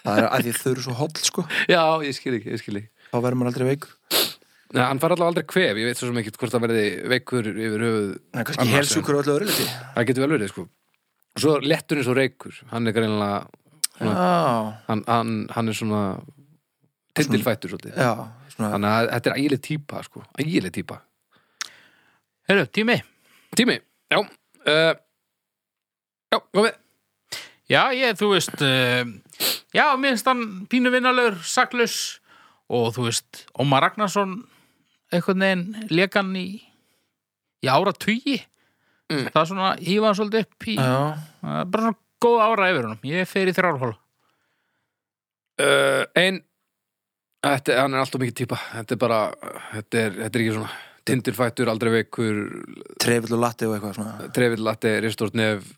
A: það er að því þau eru svo holl sko
B: já, ég skil ekki, ég skil ekki
A: Þá verður maður aldrei veikur
B: Nei, hann fara allavega aldrei kvef, ég veit svo sem ekki hvort það verði veikur yfir höfuð
A: Nei, kannski
B: Annars er-
A: helsjúkur og öllu öðru liti
B: það getur vel verið, sko og svo lettur eins og reykur, hann er greinlega
A: Já,
B: hann, hann, hann er svona tindilfættur svolítið
A: já, svona
B: þannig að þetta er ægileg típa, sko ægileg típa
C: Heyrðu, tími
B: Tími, já uh, Já, komið
C: Já, ég, þú veist uh, Já, mér finnst hann pínu vinnalögur, saklaus Og þú veist, Ómar Ragnarsson einhvern veginn lekan í í ára tugi
B: Mm.
C: Það er svona, hýfa hann svolítið upp í
A: Já,
C: Það er bara svona góð ára yfir honum Ég fer í þrjárhóla
B: uh, Ein Þetta, hann er alltaf mikið típa Þetta er bara, þetta er, þetta er ekki svona Tindirfættur, aldrei veikur
A: trefill og latti og eitthvað svona
B: Trefill lati, ristort nef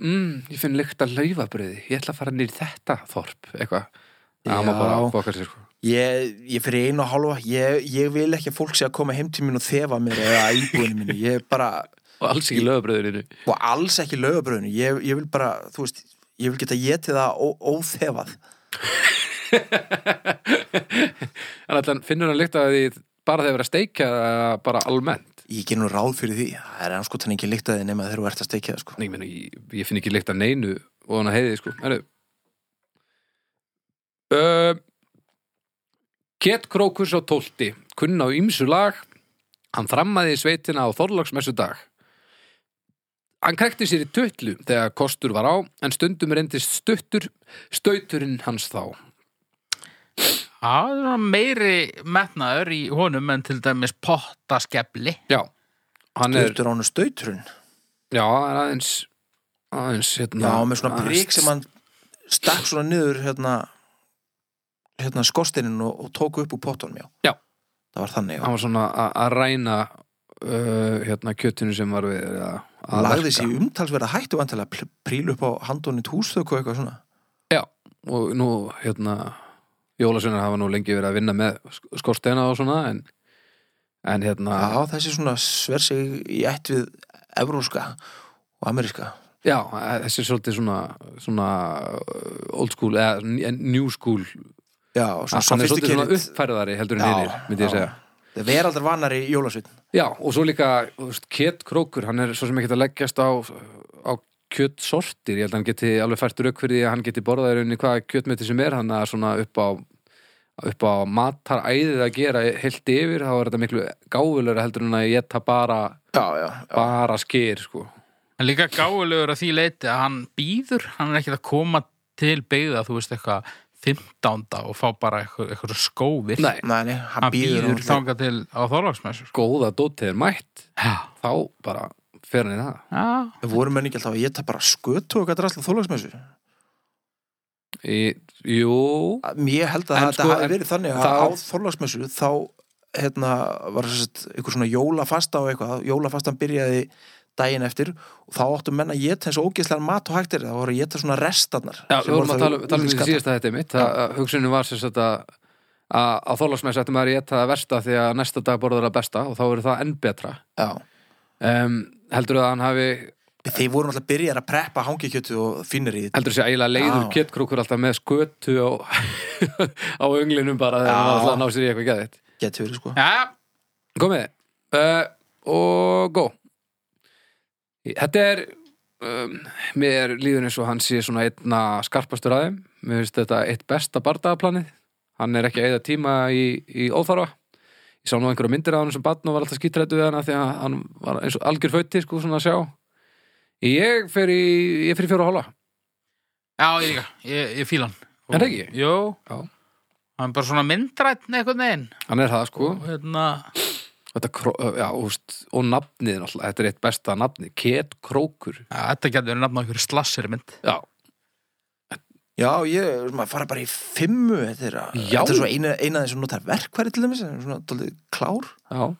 B: mm, Ég finn lykt að laufabriði Ég ætla að fara nýr þetta þorp Eitthvað, það má
A: Já.
B: bara fokkar sér sko.
A: Ég, ég fyrir einu og hálfa, ég, ég vil ekki að fólk sé að koma heim til mín og þefa mér eða að íbúinu mínu, ég er bara,
B: Og alls ekki lögabriðinu
A: og alls ekki lögabröðinu, ég, ég vil bara, þú veist, ég vil geta getið það ó- óþefað.
B: En allan, finnur hann lykt að því bara þegar verið að steikja eða bara almennt
A: Ég ger nú ráð fyrir því, það er anskotan ekki líktaði nema þegar þú ert að steikja það, sko.
B: Nei, ég, meina, ég, ég finn ekki lykt að neinu og hann að heiði sko. Heru. Uh, Ketkrókur sá tólti kunn á ýmsu lag hann þrammaði í sveitina á Þorlagsmessu dag Hann krekti sér í tötlu þegar kostur var á en stundum reyndist stuttur stauturinn hans þá
C: Já, það er svona meiri metnaður í honum en til dæmis pottaskefli
B: Já, hann er,
A: Stöytur ánu stöyturinn,
B: já, hann er aðeins aðeins hérna,
A: já, með svona
B: aðeins-
A: prík sem hann stakk svona niður, hérna, hérna skorstinin og, og tók upp úr pottunum, já.
B: Já.
A: Það var þannig, já.
B: hann var svona a- að ræna uh, hérna kjötinu sem var við að, að
A: Lagði
B: verka.
A: sér umtalsverða hættu vantilega prílu upp á handónið húsþöku og eitthvað svona.
B: og nú hérna Jólasveinar hafa nú lengi verið að vinna með sk- skorsteina og svona en, en hérna
A: Já, þessi svona sver sig í ætt við evróska og ameríska.
B: já, þessi er svolítið svona, svona uh, old school eða n- new school
A: Já,
B: hann er svolítið svona uppfærðari heldur en
A: Já,
B: hinnir, myndi ég
A: já.
B: segja
A: Það er aldrei vanar í jólasveitin.
B: já, og svo líka þú veist, Két Krókur, hann er svo sem ekki að leggjast á, á kjötsortir ég held að hann geti alveg fært rauk fyrir því að hann geti borðað í rauninni hvaða kjötmeti sem er hann að svona upp á upp á mataræðið að gera heilt yfir, þá er þetta miklu gáfulegra heldur en að ég geta bara
A: Já, já.
B: bara skyr sko
C: En líka gáfulegur að því leiti að hann býður, hann er ekkert að koma til byggða, þú veist eitthvað 15. og fá bara eitthvað, eitthvað svo skófir
B: Nei, um
A: Nei, nei, hann,
C: hann býður,
A: býður. hann-
C: þangað til á þorlagsmessu sko.
B: góða dótið er mætt
C: Já,
B: þá bara fer hann í það
C: já,
A: Voru menn ekki alltaf að geta bara skötu og eitthvað drasla þólagsmessu?
B: í, Jú,
A: Ég held að
B: En
A: þetta
B: sko,
A: hafi
B: en
A: verið þannig að
B: það-
A: á þólagsmessu þá hérna, var þess að einhver svona jólafasta og eitthvað. Jólafastan byrjaði daginn eftir og þá áttu menn að geta eins og ógeðslega mat og hægt er það voru að geta svona restarnar
B: Já,
A: sem
B: við
A: voru
B: vorum að
A: þá
B: tala,
A: í
B: tala um því
A: útlitsgalla.
B: síðasta þetta mitt að að hugsunin var sem sagt að að á þólasmess ætti maður að geta það versta því að næsta dag borður það besta og þá verður það enn betra
A: Já,
B: um, heldur að hann hafi
A: þeir voru náttúrulega byrjar að preppa hangikjötu og finnir í
B: heldur þessi ægilega leiður
A: Já.
B: kjötkrúkur alltaf með skötu á, á önglinum bara þegar
A: Já.
B: hann var alltaf að ná sér í eitthvað geðið
A: getur verið sko
C: Já,
B: komið uh, og gó þetta er um, mér líður eins og hann sé svona einna skarpastur aðeim mér finnst þetta eitt besta bardagaplanið hann er ekki að eða tíma í, í óþarfa ég sá nú einhverja myndir af hann sem barn og var alltaf skítrættu við hana því að hann var eins og algjör fötti sko svona að sjá ég fer í, ég fer í fjóra hóla
C: já, ég líka, ég, ég fíla hann
B: Er það ekki?
C: Jó,
B: Já.
C: hann er bara svona myndrætn einhvern veginn
B: hann er það sko
C: og hérna,
B: þetta, kró- eh, já, úst, og nafnið náttúrulega, þetta er eitt besta nafnið Ket Krókur
C: ja, þetta getur verið nafn á einhverju slassir mynd
B: já,
A: Já, ég, maður fara bara í fimmu þetta er, að-
B: Já.
A: þetta er svo eina, eina þess að notar verkværi til þeim svona tólið klár
B: já
A: og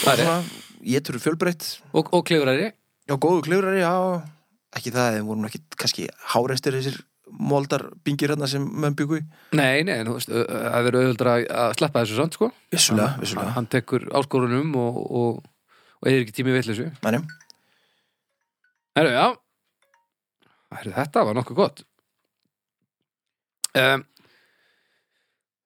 B: Það er
A: svona, ég trúi fjölbreytt
B: og, og klifrari
A: Já, góðu klifrari, já ekki það, þeir voru nú ekki kannski háreistir þessir moldar bingir hérna sem menn byggu í
B: Nei, nei, þú veist, ö- ö- það verður auðvöldra að sleppa þessu samt, sko.
A: Vissulega,
B: Hann,
A: vissulega
B: hann tekur áskorunum og, og, og eðir ekki tími vill þessu.
A: Mænum,
B: Herru, já. Herru, þetta var nokkuð gott. Um,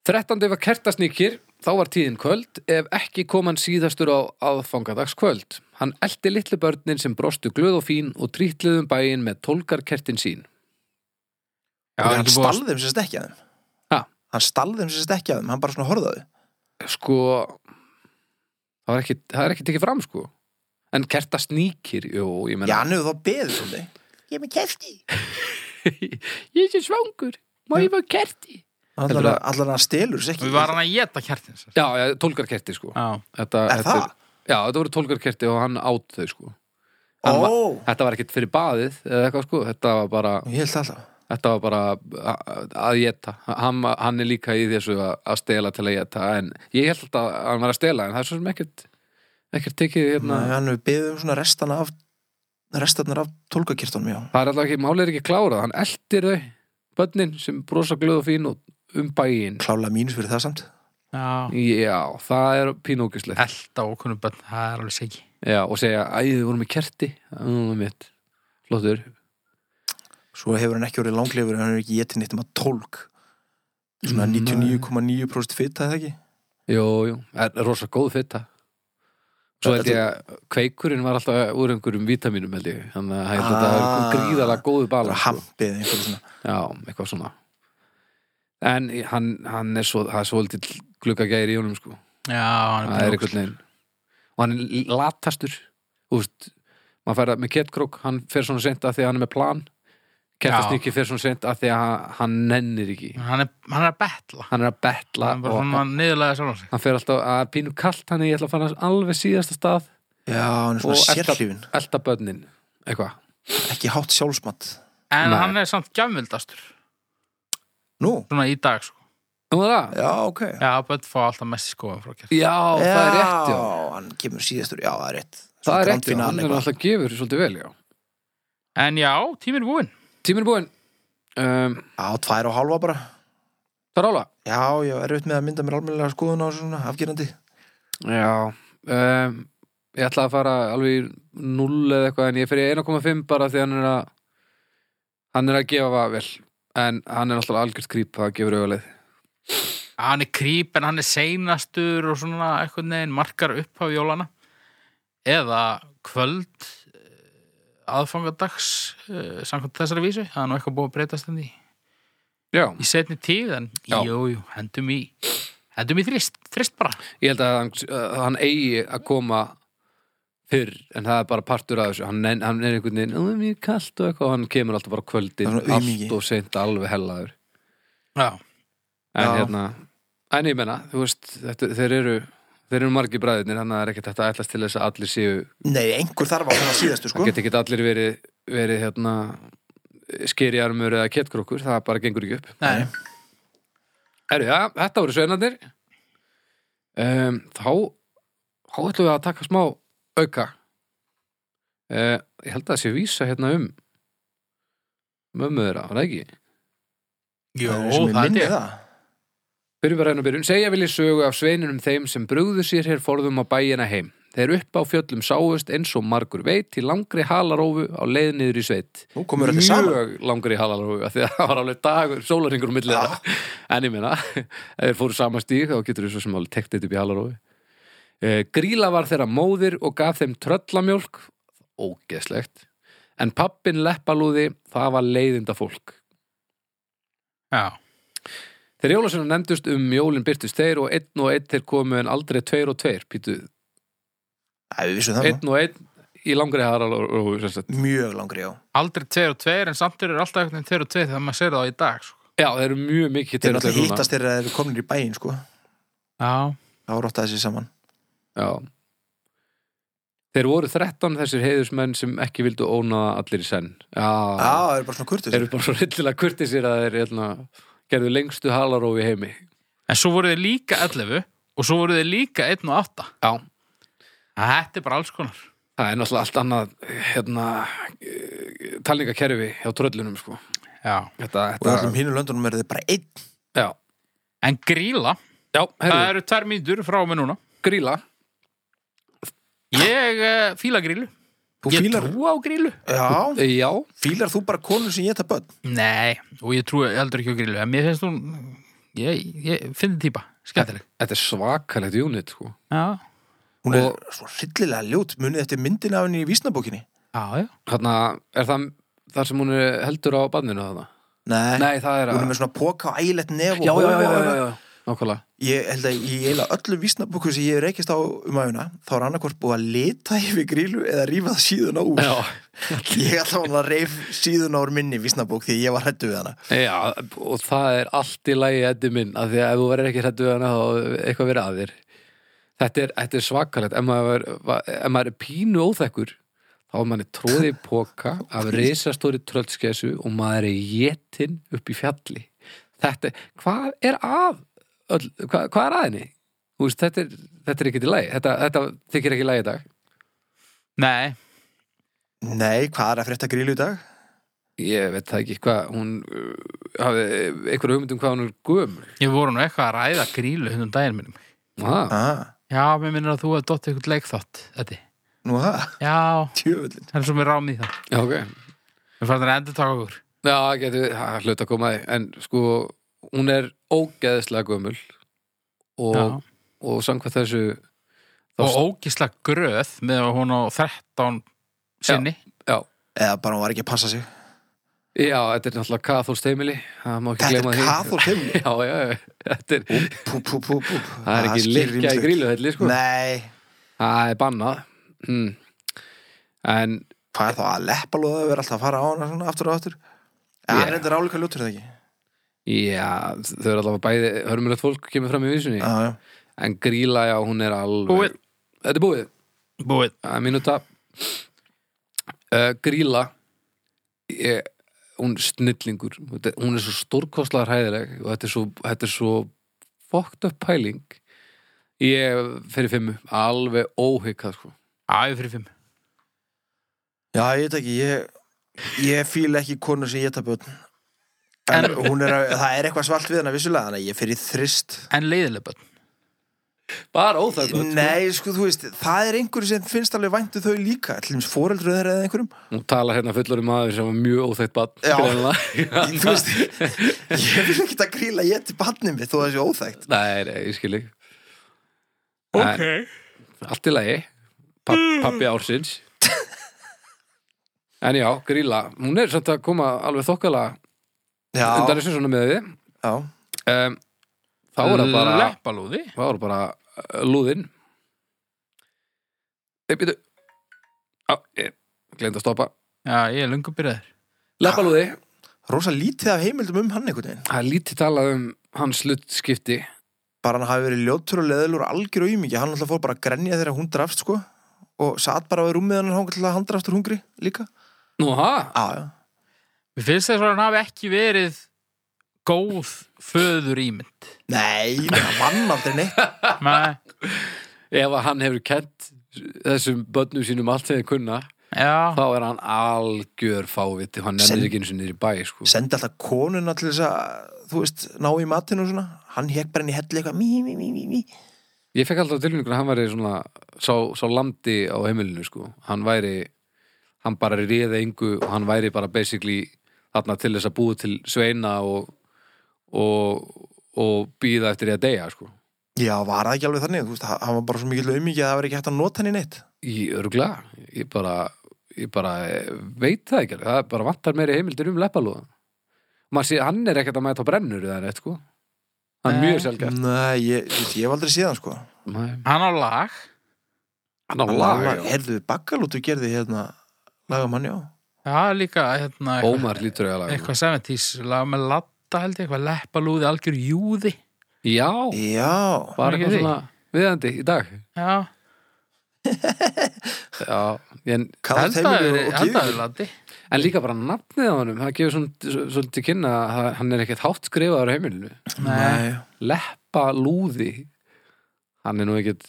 B: 13. var kertasnýkir, þá var tíðin kvöld, ef ekki kom hann síðastur á aðfangadags kvöld. Hann eldi litlu börnin sem brostu glöð og fín og trítluðum bæin með tólkarkertin sín.
C: Já,
A: hann
C: ekki búið að-
A: stal þeim sem stekja þeim
B: Ha?
A: Hann stal þeim sem stekja þeim, hann bara svona horfðaði
B: sko það er ekki, það er ekki tekið fram sko en kerta sníkir, jú,
A: Já,
B: ég menna
A: hann hefur þá beðið um þig Ég er með kerti
B: ég sé svangur, má ég fá kerti
A: Allar
B: Heldurðu
A: að- allar að hann stelur sér ekki
C: Við var hann að geta kertins
B: já, já, tólkarkerti sko
C: Já,
B: þetta,
A: Er það?
B: já, þetta voru tólkarkerti og hann átt þau sko Hann var,
A: Ó,
B: þetta var ekkit fyrir baðið eða eitthvað sko, þetta var bara
A: ég held alltaf
B: þetta var bara að- að geta hann, hann er líka í þessu að, að stela til að geta, en ég held alltaf að hann var að stela, en það er svo sem ekkert ekkert tekið hérna
A: Nei, Hann hefur beðið um svona restana af restarnar af tólkakirtunum, já
B: Það er alltaf ekki, málið er ekki klárað, hann eldir þau, börnin sem brosa glöð og fín og um bæin.
A: Klála mínus fyrir það samt
C: já
B: Já, það er pínókislegt.
C: Elta okkunum bönn, það er alveg segi
B: Já, og segja, æ, þið vorum í kerti, um, mitt, flottur.
A: Svo hefur hann ekki orðið langlefur en hann hefur ekki getið neitt um að tólk Svona
B: Nei.
A: 99,9% fita, eða ekki?
B: Jú, jú, það er rosa góð fita. Svo held ég að kveikurinn var alltaf úr einhverjum vítamínum, held ég. Þannig að ah, þetta
A: Ah.
B: er gríðalega góðu
A: bara
B: bala.
A: hampið eða einhverju svona
B: Já, eitthvað svona. En hann, hann er svo, það er svo haldið gluggagæri í honum, sko.
C: Já,
B: það
C: hann
B: er
C: pínókill.
B: einhvern veginn og hann er latastur þú veist, maður fær að með kettkrók hann fer svona seint að því að hann er með plan kettastíki fer svona seint að því að hann- hann nennir ekki,
C: hann er, hann er að betla
B: hann er að betla
C: hann er bara
B: og
C: svona
B: hann,
C: að niðurlega sjálf sig
B: hann fer alltaf að pínu kalt hann er ég ætla að fara alveg síðasta stað
A: já, hann er
B: og
A: svona
B: elta,
A: sérlífin,
B: elta börnin eitthvað,
A: ekki hátt sjálfsmatt
C: en
B: Nei.
C: hann er samt gjafmildastur
A: nú,
C: svona í dag sko
B: nú er það
A: já, ok já,
C: já, bönn fá alltaf mest skóðan frá kertin
B: já, það er rétt já,
A: hann kemur síðastur, já, það er rétt
B: það
A: Svona
B: er rétt já,
A: grandfinal
B: hann er
A: eitthvað.
B: alltaf gefur svolítið vel já,
C: en já, tíminn er búinn
B: tíminn er búinn um,
A: já, tvær og halva bara
B: það er ála
A: já, já, erfitt með að mynda mér almennilega skoðun á þessu svona afgerandi
B: Já um, Ég ætla að fara alveg í 0 eða eitthvað en ég fer í 1,5 bara því hann er að hann er að gefa vel en hann er alltaf algjörst krýp það gefur auðvitað
C: Já, hann er krýp en hann er seinastur og svona eitthvað neginn markar upp á jólana eða kvöld eh, aðfangadags eh, samkvæmt þessari vísu, það er nú eitthvað búið að breytast enn því
B: Já,
C: í setni tíð en
B: Já.
C: jú, jú, hendum í hendum í þrist, þrist bara
B: ég held að hann, að hann eigi að koma fyrr en það er bara partur af þessu hann, nenn- hann er einhvern veginn, "Ó, mér er kalt og eitthvað og hann kemur alltaf bara á kvöldin
A: Það er svona aumingi.
B: allt og seint alveg hellaður
C: já,
B: en
A: Já.
B: hérna, en ég menna þú veist, þetta, þeir eru þeir eru margir bræðinir, þannig að það er ekkert hægt að ætlast til þess að allir séu
A: nei, einhver þarf að koma síðastur,
B: það
A: sko
B: geta ekki allir verið, verið hérna, skeriarmur eða kettkrókur, það bara gengur ekki upp
C: nei,
B: Heru, ja, þetta voru sveinandir um, þá, þá ætlum við að taka smá auka Eh, ég held að það sé vísa hérna um mömmu þeirra, var það ekki?
C: Jó,
A: er sem ég
C: það er
A: minni
C: ég.
A: það.
B: Byrjum bara enn og byrjum. um Segja vil ég sögu af sveininum þeim sem brugðu sér hér forðum á bæina heim. Þeir upp á fjöllum sáust eins og margur veit til langri halarófu á leið niður í sveit.
A: Nú komur þetta saman.
B: langri halarófu af því að það var alveg dagur, sólaringur um millið það. En ég meina, ef þeir fóru sama stíg þá getur þú svo sem alveg tekt eitt upp í halarófu. Eh, Gríla var þeirra móðir og gaf þeim tröllamjólk, ógeðslegt. En pappin leppalúði, það var leiðinda fólk.
C: Já,
B: Þeir jólasunum nefndust um jólin byrtist þeir og einn og einn þeir komu en aldrei tveir og tveir, pítu,
A: Æ, við vissum það.
B: einn og einn í langri hararófu, sem sagt.
A: nú. Mjög langri, já.
C: aldrei tveir og tveir en samt eru alltaf einhvern veginn tveir og tveir þegar maður sér það í dag sko.
B: Já, þeir eru mjög mikið
A: Þeir
B: tveir og tveir
A: náttúrulega
B: núna.
A: hittast þeirra þeir eru komin í bæinn, sko.
C: Já,
A: Þá rottaði sér saman.
B: Já. Þeir voru 13 þessir heiðusmenn sem ekki vildu óna allir í senn.
A: Já,
B: Já,
A: það eru bara svona kurtus.
B: þeir eru bara svo rillilega kurtið sér að þeir hérna, gerðu lengstu halarófi í heimi.
C: en svo voru þið líka 11 og svo voru þið líka 1 og 8
B: Já.
C: Þetta er bara alls konar
B: Það er náttúrulega allt annað, hérna, eh, talningakerfi hjá tröllunum, sko.
C: Já.
B: Þetta,
A: Og í
B: þetta,
A: allum hínu löndunum eru þeir bara einn.
B: já.
C: En gríla,
B: Já,
C: það
B: herru,
C: eru tvær mínútur frá mig núna
B: gríla.
C: Ég uh, fíla grílu
A: Þú
C: Ég
A: fílar,
C: trú á grílu
A: já,
B: Já,
A: fílar þú bara konur sem geta börn?
C: Nei, og ég trúi heldur ekki á grílu En mér finnst hún, ég, ég finn þið típa Skemmtileg
B: þetta er svakalegt unit sko.
C: Já,
A: Hún er
B: Og-
A: svo hryllilega ljót, munið eftir myndin af henni í vísnabókinni.
C: já, já
B: Þarna, er það þar sem hún er heldur á barninu þarna?
A: Nei,
B: Nei, það er að
A: hún er með svona póka á ægilegt nef og
B: já, já, já, já, já, já. Nákvæmlega
A: Ég held að í eila öllum vísnabóku sem ég hef reykist á um aðuna, þá er annarkvort búið að lita yfir grílu eða rífa það síðuna úr.
B: Já,
A: Ég ætla hún að reyf síðuna úr minni vísnabók því ég var hrættu við hana.
B: já, og það er allt í lagi eddi minn, af því að ef þú verður ekki hrættu við hana þá er eitthvað verið að þér Þetta er, þetta er svakalegt ef maður, er- ef maður er pínu óþekkur þá er manni tróði í póka af reisastóri tröllskessu og maður er jettin upp í fjalli Þetta, hvað er að öll, hvað, hvað er að henni? Þú Veist, þetta, er, þetta er ekki í lagi þetta, þetta þykir ekki í lagi í dag
C: Nei,
A: Nei, hvað er að frétta grílu í dag?
B: Ég veit það ekki hvað hún uh, hafði einhverja hugmynd um hvað hún er gömul
C: ég voru nú eitthvað að ræða grílu hundum daginn minnum
B: ah,
A: Ah,
C: Já, mér minnir að þú hefði dottið eitthvað leikþátt Þetta
A: nú það,
C: Já,
A: tjöfullin.
C: það er svo mér rámið það
B: Já, ok
C: Við fannum að endur taka okkur
B: Já, getur, það hlut að koma að því En sko, hún er ógeðislega gömul
C: Já.
B: og, og samkvæmt þessu Þá-
C: Og ógisla gröð með að hún á 13 sinni
B: Já,
A: Eða bara hún var ekki að passa sig.
B: já þetta er náttúrulega kathólst heimili Það má ekki
A: Þetta
B: gleyma
A: er
B: því
A: kathólt heimli.
B: Já, já, já, þetta er
A: Pú, pú, pú, pú.
B: Það er ekki
A: skýrir
B: líkja í
A: ýmislegt.
B: grílu helli, sko
A: Nei,
B: Það er bannað mm. En,
A: hvað er þá að leppa lóða að vera alltaf að fara á hana svona aftur og aftur? En hann
B: Já.
A: reyndir álíka ljótur er það ekki.
B: já, þau eru allavega bæði Hörmulegt fólk kemur fram í vísunni
A: Já, já.
B: En gríla, já, hún er alveg
C: Búið.
B: Þetta er búið
C: Búið
B: að mínúta uh, Gríla ég, hún er snillingur Þetta- hún er svo stórkostlega hæðileg og þetta er svo, þetta er svo fokkt upp pæling ég fyrir fimmu, alveg óhyggað sko.
C: Já, ég fyrir fimm
A: Já, ég veit ekki, ég, ég fíla ekki konur sem geta börn. En hún er að, það er eitthvað svalt við hana vissulega, þannig að ég fyrir þrist.
C: En leiðileg börn
B: bara óþægilegt sko.
A: Nei, sko, þú veist, það er einhverju sem finnst alveg væntu þau líka, til þess foreldru þeirra eða einhverjum.
B: hún talar hérna fullur um aður sem var mjög óþægt bann
A: Já. Þú veist, ég vil ekki að gríla ég til barnið mitt þó það sé óþægt.
B: nei, nei, ég skil ekki okay. allt í lagi Papp, pappi ársins en já, Gríla hún er samt að koma alveg þokkala
A: Já,
B: undan þessu svona með því
A: já.
B: um, þá er það bara
C: Leppalúði
B: þá er það bara uh, lúðinn þeir býtu á, ég glemt að stoppa
C: Já, ég er löngu byrjaður
B: leppalúði,
A: Rosa lítið af heimildum um hann einhvern veginn.
B: það er lítið talað um hans hlutskipti
A: Bara hann hafi verið ljótur og leðilur algjör og ymingi, hann alltaf fór bara að grenja þegar hún drafst, sko. Og satt bara á rúmið hann hann til að hann drafstur hungri líka.
B: nú ha,
A: Já, já.
C: Mér finnst þess að hann hafi ekki verið góð föður ímynd
A: Nei, hann vann aldrei neitt
C: Nei,
B: ef að hann hefur kent þessum börnum sínum allt þegar kunna
C: já,
B: þá er hann algjör fáviti hann nefnir
A: Send-
B: ekki eins og niður í bæ sko.
A: sendi alltaf konuna til þess að þú veist, ná í matinu og svona hann hekk bara henni hellu eitthvað mí, mí, mí, mí, mí.
B: ég fekk alltaf tilfengur að hann væri svona sá, sá landi á heimilinu sko. hann væri hann bara réði engu og hann væri bara basically þarna til þess að búi til sveina og og, og býða eftir því að deyja sko.
A: já, var það ekki alveg þannig þú veist, hann- hann var bara svo mikil auðmikið að það var ekki hægt að nota henni neitt
B: í örgla ég bara, ég bara eh, veit það ekki alveg. það er bara vantar meiri heimildir um leppalúðan maður sé, hann er ekkert að mæta á brennur eða neitt sko hann er
C: Nei.
B: mjög selgjart
A: nei, ég, þú veist, ég hef aldrei síðan sko
B: hann
C: hann á lag
B: á lag já.
A: herðu, bakkalútu gerði hérna lagamann, já
C: já, líka hérna, eitthvað-
B: Ómar lítur eiga lag sko.
C: eitthvað 70s lag með latta held ég, eitthvað leppalúði, algjör júði
B: já,
A: já,
B: bara
C: ekki
B: eitthvað
C: því.
B: svona viðandi í dag
C: já,
B: já, en,
A: kallt
C: held að
A: heimilu og
C: það held að
A: gíður
C: það latti
B: en líka bara nafnið á honum það gefur svona- svo- svolítið kynna að það- hann er ekkert hátt skrifaður á heimilinu
C: nei,
B: leppa lúði hann er nú ekkert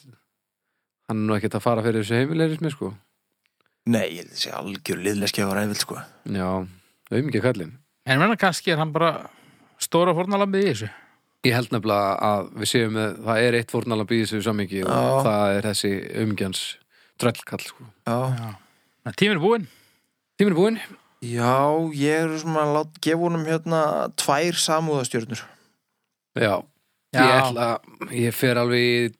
B: hann er nú ekkert að fara fyrir þessu heimileirismi sko
A: nei, ég þessi algjör liðleski á ræðvill sko
B: Já, auðmikið kallinn.
C: en menna kannski er hann bara stóra fornalambið í þessu
B: Ég held nefnilega að við séum með, það er eitt fórnalamb í þessu samingi og
A: Já.
B: það er þessi auðmikiðans tröllkall. Sko.
A: já,
C: en tíminn er búinn,
B: Tíminn er búinn.
A: já ég er svona að lát, gefa honum hérna tvær samúðastjörnur
B: Já. Ég
C: Já.
B: ætla, ég fer alveg í,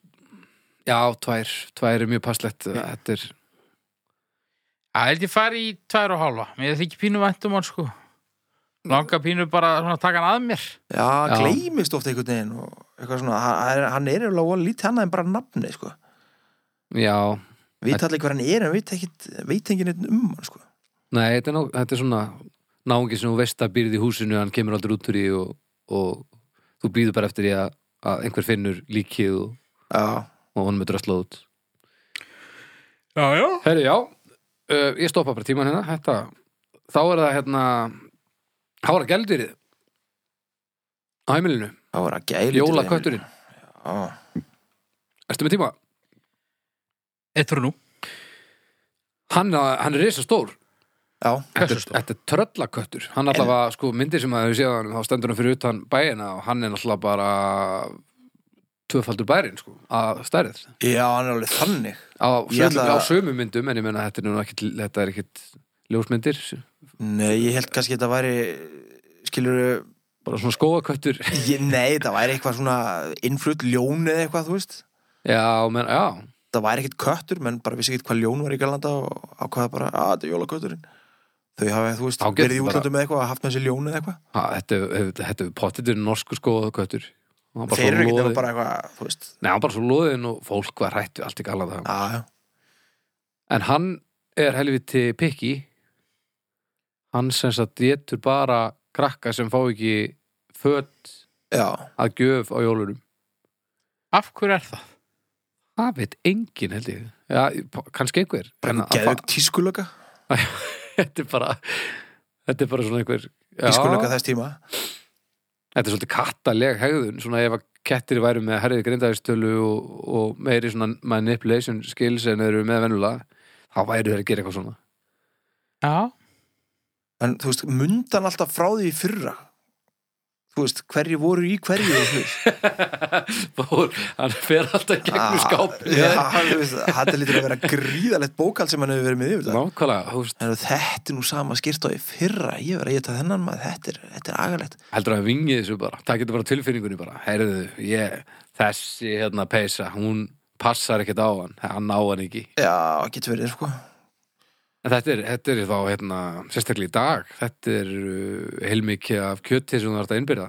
B: já, tvær, tvær er mjög passlegt. Þetta er,
C: það held ég fari í tvær og hálfa mér þykir pínu væntum hann sko langa pínu bara svona, að taka hann að mér
A: já, já.
B: Já.
A: gleymist ofta einhvern veginn og eitthvað svona, hann er- hann er alveg lítið annað en bara nafni sko
B: já,
A: veit allir hver hann er en veit ekkit veit enginn einn um hann sko
B: nei, þetta er, ná, þetta er svona náungi sem þú veist að býrð í húsinu, hann kemur aldrei út úr í og, og þú býður bara eftir því að, að einhver finnur líkið og,
A: já,
B: og honum er dröslað út.
C: já, já,
B: Herri, já, uh, ég stoppa bara tíman hérna þetta, Þá er það hérna Þá er það gældýrið Á heimilinu,
A: þá var að gæli
B: jólakötturinn Ertu með tíma?
C: eittur nú
B: Hann, uh, hann er risa stór
A: já,
B: Þetta
C: Hversu
B: er-
C: stór?
B: þetta er tröllaköttur Hann allavega, sko, myndir sem að hefur séð hann þá stendur hann fyrir utan bæina og hann er allavega bara tvöfaldur bærin, sko, að stærið
A: já, hann er alveg þannig
B: á,
A: Ég
B: sömu,
A: ætla-
B: á sömu myndum, en ég meina þetta er nú ekki, þetta er ekkit ljósmyndir
A: nei, ég held kannski þetta væri skilur,
B: bara svona skóaköttur
A: ég, nei, þetta væri eitthvað svona innflutt ljón eða eitthvað, þú veist
B: Já, menn, já,
A: það væri ekkit köttur, menn bara vissi ekkit hvað ljón var í Galanda og ákvaða bara, að þetta er jólakötturinn þau hafa, þú veist,
B: Þá getur
A: verið í
B: bara-
A: útlandum með eitthvað haft með þessi ljón eða eitthvað
B: Ha, þetta hefur- þetta hefur pottið til norsku skoðaköttur
A: þeir eru ekkit nema bara eitthvað, þú veist
B: Nei, hann bara svo loðin og fólk var hrættu allt í galað það
A: já, já,
B: En hann er helviti pikki Hann sem sagt getur bara krakka sem fá ekki fött
A: já,
B: að gjöf á jólunum
C: af hverju er það?
B: Það veit enginn held ég Já, p- kannski einhver En
A: bara
B: að
A: geðvegt tískulöka
B: fa- Þetta er bara Þetta er bara svona einhver Já,
A: tískulöka þess tíma
B: þetta er svolítið kattaleg hegðun svona ef að kettir væru með herrið grindaðistölu og, og meiri svona manipulation skills en þeir eru með vennulega þá væru þeir að gera eitthvað svona
C: já,
A: en þú veist, mundan alltaf frá því í fyrra þú veist, hverju voru í hverju og þú veist.
B: Fór, hann fer alltaf gegnum
A: Ah,
B: skápin
A: já, þú veist, þetta lítur að vera gríðalegt bókald sem hann hefur verið með yfir það
B: nákvæmlega, þú veist,
A: en þetta er nú sama skýrt á í fyrra ég verið að geta þennan maður, þetta er, þetta er agalegt
B: heldur að vingið þessu bara það getur bara tilfinningunni bara heyrðu, ég, þessi hérna peysa hún passar ekkert á hann hann á hann ekki
A: já, getur verið, sko
B: en þetta er, þetta er þá hérna, sérstaklega í dag þetta er uh, heilmikið af kjöti sem þú þarf að innbyrða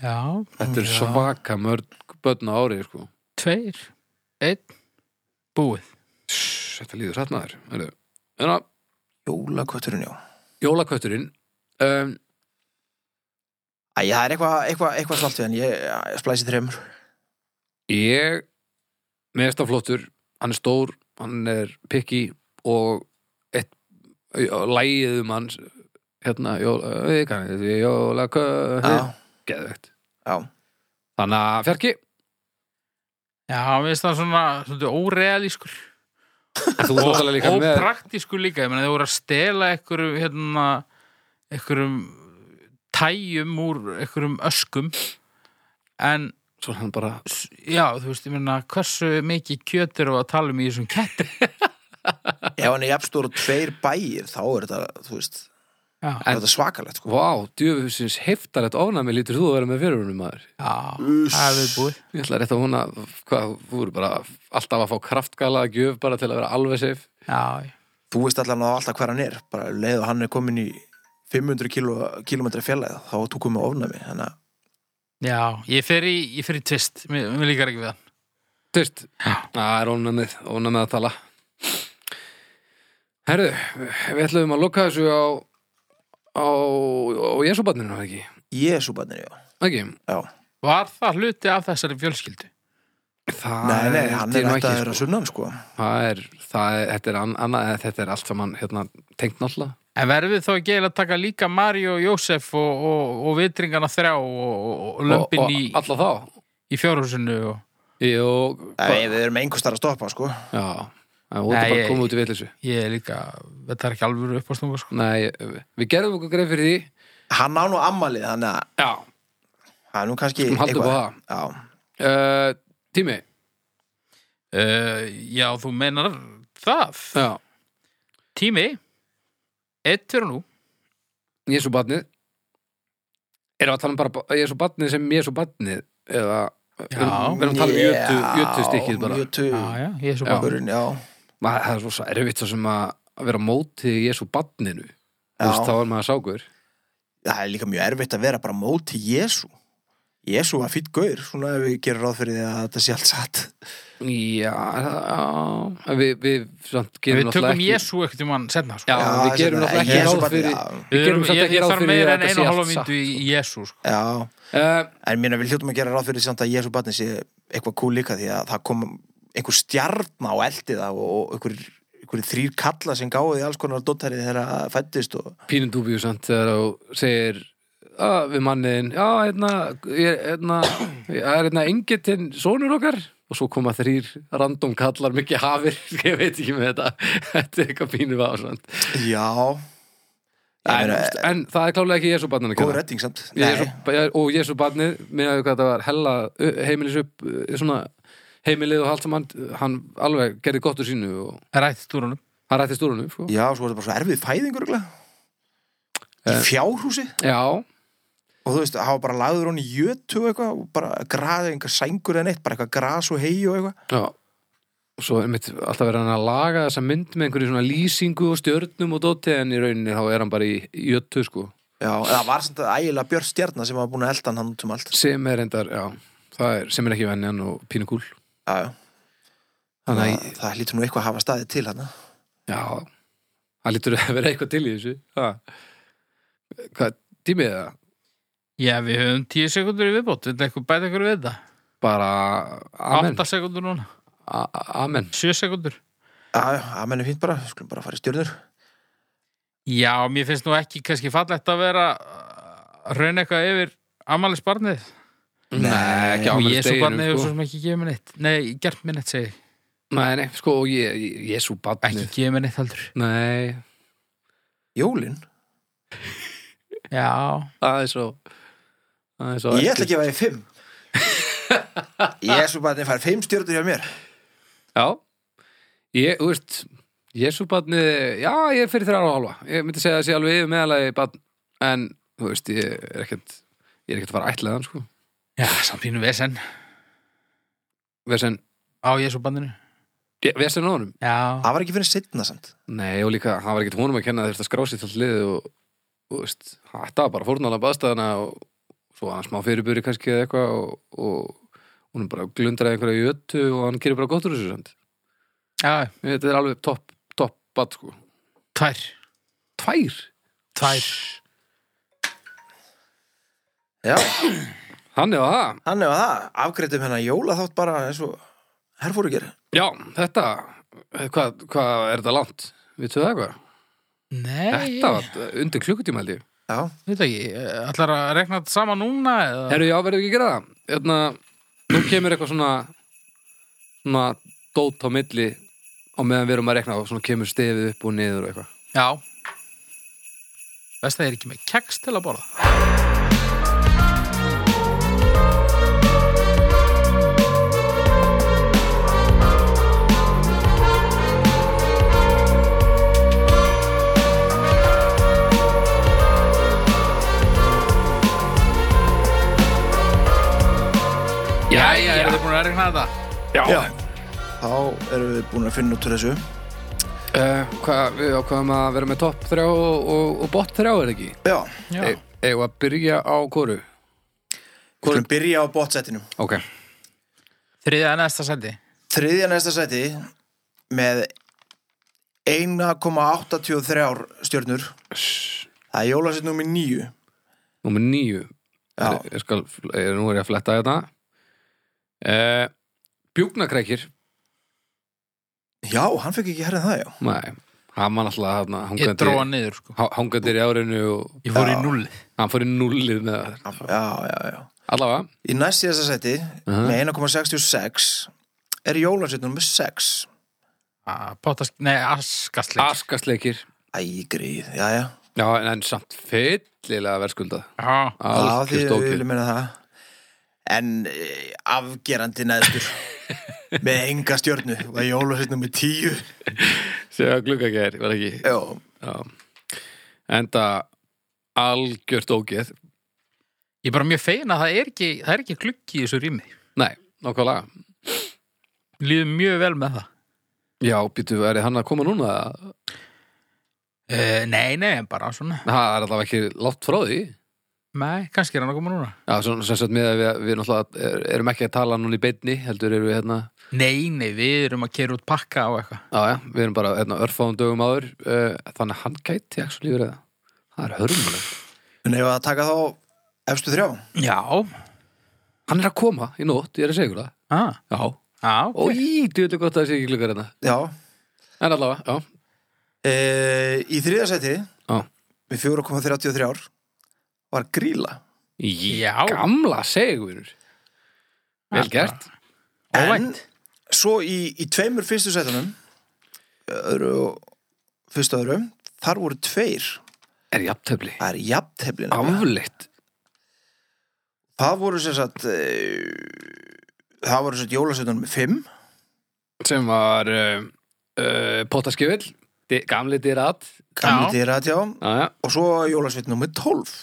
C: já,
B: þetta er
A: Já.
B: svaka mörg börn á ári sko
C: tveir einn, búið
B: Sss, Þetta líður hrættnaður En að
A: Jólakötturinn, já.
B: Hérna, jólakötturinn um,
A: Æ, það er eitthvað eitthva, eitthva svalt við hann, ég, ég splæsi þreymur.
B: Ég meðist á flottur Hann er stór, hann er pikki Og eitt Lægið um hans Hérna, jólakötturinn Jólakötturinn,
A: Já,
B: geðvegt
A: já.
B: Þannig að fjarki
C: já, mér finnst það svona, svona órealískur
B: Þú er náttúrulega líka
C: og
B: með
C: praktísku líka, ég meina þau voru að stela einhverjum hérna, einhverjum tæjum úr einhverjum öskum en
B: Svo hann bara
C: s- já, þú veist, ég meina hversu mikið kjöt eru að tala um í þessum kettir
A: ef hann er jafnstóra tveir bæir þá er þetta, þú veist, þá
C: já,
A: er þetta svakalegt sko.
B: Vá, djöfusins heftarlegt ofnæmi lítur þú að vera með fyrirunum maður
C: já
A: Uss.
C: það er við búið
B: Ég ætla rétt að hún að, hvað, þú eru bara alltaf að fá kraftgala að gjöf bara til að vera alveg safe
C: já,
A: þú veist allan að alltaf hver hann er bara um leið og hann er komin í 500 kilo, kilometri fjallæð þá er þú komið ofnæmi þannig að
C: já, ég fer í, ég fer í tvist mér, mér líkar ekki við hann
B: Tyrst,
C: Já.
B: það er ónæmið, ónæmið að tala Herðu, við ætlum að loka þessu á á, á Jésúbarninu, ekki?
A: Jésúbarnir, já,
B: Ekki,
A: já.
C: var það hluti af þessari fjölskyldu
B: það
A: Nei, nei,
B: er
A: hann
B: til
A: er
B: nú
A: hægt að
B: sko.
A: vera sunnan sko.
B: það er, það er, þetta er an- annað, eða þetta er allt saman, hérna, tengt náttúrulega.
C: en verðum við þá ekki eiginlega að taka líka Mario, Jósef og, og, og vitringana þrjá og, og, og
B: Og-
C: lömpin í,
B: og Alla þá.
C: í fjárhúsinu og
B: Jó,
A: Nei, við erum einhvers þar að stoppa sko.
B: já, en þú ert
C: Nei,
B: bara að
C: ég-
B: koma út í vitleysu.
C: Ég er líka, þetta er ekki alvöru upp á snúka sko.
B: Nei, við gerðum okkur greið fyrir því.
A: hann á nú ammalið þannig að
B: Já.
A: það er nú kannski
B: Skulum halda upp á
A: já,
B: Uh, tími,
C: Uh, já, þú meinar það.
B: já,
C: Tími, eitt fyrir nú.
B: ég er svo batnið. Erum við að tala um bara, ég er svo batnið sem ég er svo batnið, eða...
C: Já.
B: Við erum við erum að tala um jötu, jötu stikkið bara.
A: jötu
C: já, ég er
B: Já.
C: svo bara.
A: bakkurinn, já,
B: Ma, það er svo svo erfitt svo sem að að vera á móti ég er svo batninu. Þú veist, þá
A: já.
B: er maður sákur.
A: það er líka mjög erfitt að vera bara á móti Jésu Jésu var fýtt gaur svona ef við gerum ráð fyrir því að þetta sé allt satt
B: Já, það- já, en við, við samt gerum
C: Við
B: náttúrulega
C: tökum
B: ekki-
C: Jésu ekkert um hann setna sko.
B: Já, við
A: það
B: gerum
A: er svona,
B: náttúrulega ekki
A: Jesú
B: ráð
A: barnið,
B: fyrir
A: já.
B: Við gerum samt
C: ég,
B: ekki
C: ég
B: ráð
C: þarf
B: fyrir
C: meira
B: að
C: en
B: þetta
C: einu
B: sé
C: og halva
B: allt
C: myndu í í Jésu sko.
A: já,
B: Uh,
A: en minna við hljótum að gera ráð fyrir samt að Jésu barni sé eitthvað kúl líka því að það kom einhver stjarn á eldið og, og einhver, einhver þrýr kalla sem gáði alls konar dottari þegar það fættist og
B: pínum dúbíu samt þegar þú segir að, við manniðin já, hérna, ég, hérna það er hérna engillinn sonur okkar og svo koma þrýr random kallar mikið hafir, ég veit ekki með þetta þetta er eitthvað pínum ásand
A: já
B: en,
A: meina,
B: en það er klálega ekki Jésu barnan
A: góð redding samt Nei.
B: og Jésu barnið með að hvað það var hella heimilis upp eh, svona heimilið og allt saman hann alveg gerði gott úr sínu og
C: Rætt stúrunum.
B: hann rætti stúrunum sko.
A: Já, svo er þetta bara svo erfið fæðingur örugglega. í
B: Eh.
A: fjárhúsi
B: já,
A: og þú veist, hafa bara lagður hann í jötu og eitthvað og bara graði einhver sængur en eitt bara eitthvað gras og hei og eitthvað
B: Já og Svo er mitt alltaf verið hann að laga þessa mynd með einhverju svona lýsingu og stjörnum og dóti en í rauninni þá er hann bara í í jöttu sko
A: Já, en það var samt að ægilega Björn Stjarnar sem var búin að elda hann hann út um allt Já,
B: sem er endar, já, það er sem er ekki venjan og pínu kúl
A: já,
B: Þannig að,
A: það, það lítur nú eitthvað að hafa staðið til hann
B: já, það lítur að vera eitthvað til í þessu ha. Hvað, tímið það?
C: Já, við höfum tíu sekundur í viðbót. Við eitthvað bæta ykkur við þetta.
B: Bara, amen
C: Átta sekundur núna.
B: A- a- Amen
C: Sjö sekundur.
A: Já, já, það mennum fínt bara, við skulum bara fara í stjörnur
C: Já, mér finnst nú ekki kannski fallegt að vera uh, að rauna eitthvað yfir Amalis barnið.
B: Nei, ekki
C: Og
B: amen
C: Jésu barnið hefur svo
B: sko.
C: sem ekki gefið mér neitt. Nei, gert mér neitt segi. ég.
B: Nei, nei, sko, og ég, ég- Jésu
C: Ekki
B: barnið
C: gefið mér neitt heldur.
B: Nei,
A: Jólin?
C: Já,
B: það er svo Það er svo
A: Ég ætla að gefa því fimm Jésu barni fær fimm stjörnur hjá mér
B: Já, ég, þú veist Jésúbarnið, já, ég er fyrir þrjára og halva Ég myndi segja að það sé alveg yfir meðalagi barn En, þú veist, ég er ekkert Ég er ekkert að fara ætlaðan, sko
C: já, samt pínu vesen
B: Vesen,
C: á Jésúbandinu.
B: ég- vesen á honum
C: Já,
A: Það var ekki fyrir setna samt
B: Nei, og líka, það var ekkert honum að kenna Þurft að skrá sér til liðið og, og, þú veist, þetta var bara fórnala baðstæðana og svo hann smá fyrirburi kannski eða eitthvað og, og hún bara glundraði einhverja jötu og hann gerir bara gott úr þessu samt
C: já,
B: Þetta er alveg topp, topp bat, sko
C: tvær.
B: Tvær?
C: Tvær.
A: Já,
B: Hann eða það
A: hann hefur það, afgreitum hennar jóla þátt bara eins og herfóru gerir
B: Já, þetta, hvað hva er þetta langt? Vittu það eitthvað?
C: Nei,
B: Þetta var undir klukkutíma held ég.
A: Já,
C: veit ekki, eh, ætlar að rekna þetta saman núna eða?
B: Herru, já, verður ekki að gera það? Hérna, Þarna, nú kemur eitthvað svona, svona dót á milli á meðan við erum að rekna og svona kemur stefið upp og niður og eitthvað
C: Já Best að ég er ekki með keks til að borða Jæja,
B: Jæja.
C: eru þið búin að regna þetta?
A: Já. Þá erum við búin að finna út úr þessu.
B: Uh, hvað, við ákvaðum að vera með topp þrjá og, og, og bott þrjá er ekki
A: Já.
C: Já,
B: e, Eða að byrja á kóru
A: Við skulum byrja á botsetinu.
B: Ok,
C: þriðja en næsta sendi
A: Þriðja næsta seti með 1,83 stjörnur. Það er jólasett nummi 9.
B: númer níu
A: Já.
B: Ég- ég skal, ég, Nú er ég að fletta þetta uh, Bjúknakrækir
A: Já, hann fekk ekki herrið það, já.
B: Nei, hann var alltaf hann,
C: Ég dróa
B: hangandi,
C: niður sko
B: há- hangandi í árinu og
C: Ég fór í
A: Já.
C: null
B: hann fór í nullið með það
A: Já, já, já.
B: Allavega
A: Í næst síðasta seti með 1,66 er jólasett nummi 6.
C: Ah, Potas, nei, askasleik
B: Askasleikir
A: Æ, gríð, já, já.
B: Já, en, en samt fyllilega verðskuldað
C: Já,
A: Já, því
B: Algjör
A: við
B: stókir
A: viljum meina það En eh, afgerandi neðstur Með enga stjörnu Var jólasett nummi 10.
B: Sér að glugga gæri, var ekki
A: Já,
B: Já. Enda algjört ógeð
C: Ég er bara mjög fegin að það er ekki, það er ekki gluggi í þessu rými.
B: Nei, nokkulega
C: Líður mjög vel með það.
B: Já, býtu, er hann að koma núna?
C: Uh, nei, nei, en bara svona.
B: Það er allavega ekki látt frá því
C: Nei, kannski er hann að koma núna.
B: Já, svona sem sagt með að við, við náttúrulega er- erum ekki að tala núna í beinni heldur erum við hérna
C: Nei, nei, við erum að kera út pakka á eitthvað.
B: Já, já, við erum bara hérna, örfáðum dögum áður uh, þannig að hann gæti actually verið það Það er hörmuleg
A: en ef að taka þá efstu þrjá
C: Já.
B: Hann er að koma í nótt, ég er að segja ykkur það
C: Ah,
B: Já,
C: ah,
B: og
C: ok.
B: í, djúlega gott að það sé ekki klukkar hérna
A: Já,
B: En allavega, já,
A: e, í þriða seti
B: já
A: Með 4,33 Var gríla
B: Í,
C: Já.
B: Gamla segurur Vel
C: Allavega.
B: gert
C: Óvænt.
A: En svo í, í tveimur fyrstu setunum Öðru og Fyrstu öðru Þar voru tveir
B: Er jafntöfli
A: Það er jafnteflin
B: Afleitt
A: Það voru sem sagt e, Það voru sem sagt jólasetunum 5
B: Sem var uh, uh, Pottaskifill Di- Gamli dyrat
A: Gamli
C: Já.
A: dýratjá
B: Aja.
A: Og svo jólasveitnum með 12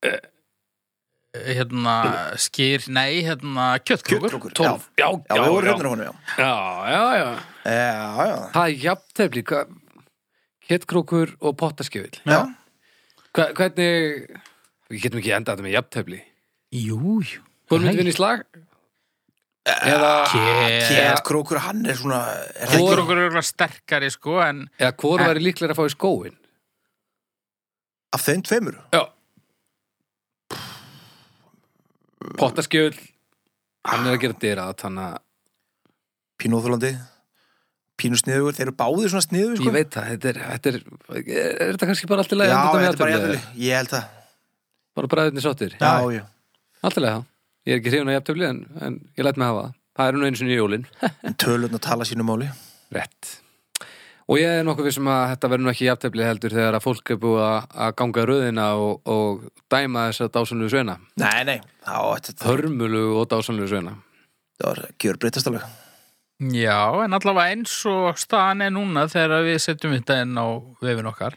C: Hérna, skýr, nei, hérna, kjöttkrókur.
A: Kjöttkrókur, já.
C: 12.
B: Já,
A: Já, við vorum
B: já,
A: hrifnir af honum, já.
B: já, já, já.
A: Já, já.
B: Það er jafntöfli Kettkrókur og pottaskifill
A: Já.
B: Hva, Hvernig Við getum ekki endað þetta með jafntöfli
C: Jú, jú.
B: Hvor myndi
C: Nei.
B: vinna í slag? Eða,
C: Kjöttkrókur
A: Kjæð krókur, hann er svona... Er það
B: Hvor-
A: ekki-
C: er eitthvað sterkari, sko, en
B: eða hvor væri líklega að fá í skóin?
A: Af þeim tveimur?
B: Já Pottaskjöld Hann er að gera dyra þannig að
A: Pínóþurlandi, pínusniður, þeir eru báðir svona sniður, sko.
B: Ég veit það, þetta er, þetta er, er, er þetta kannski bara allt
A: Já,
B: í lagi að
A: þetta
B: enda með
A: er bara
B: jafntefli?
A: jæfnileg. Ég held það.
B: Bara bræðinni sáttir
A: Já, já.
B: Allt í lagi þá. Ég er ekki hrifun á jafntöfli en, en ég læt mig hafa það Það er nú einu sinni í jólin
A: En tölun að tala sínu máli.
B: Rett Og ég er nokkuð vissum að þetta verður nú ekki jafntefli heldur þegar að fólk er búið að- að ganga röðina og, og dæma þess að dásanlegu sveina
A: Nei, nei. Já, þetta
B: Hörmulu og dásanlegu sveina
A: þetta var gjör breytast alveg.
C: Já, en allavega eins og staðan er núna þegar við setjum þetta inn á vefin okkar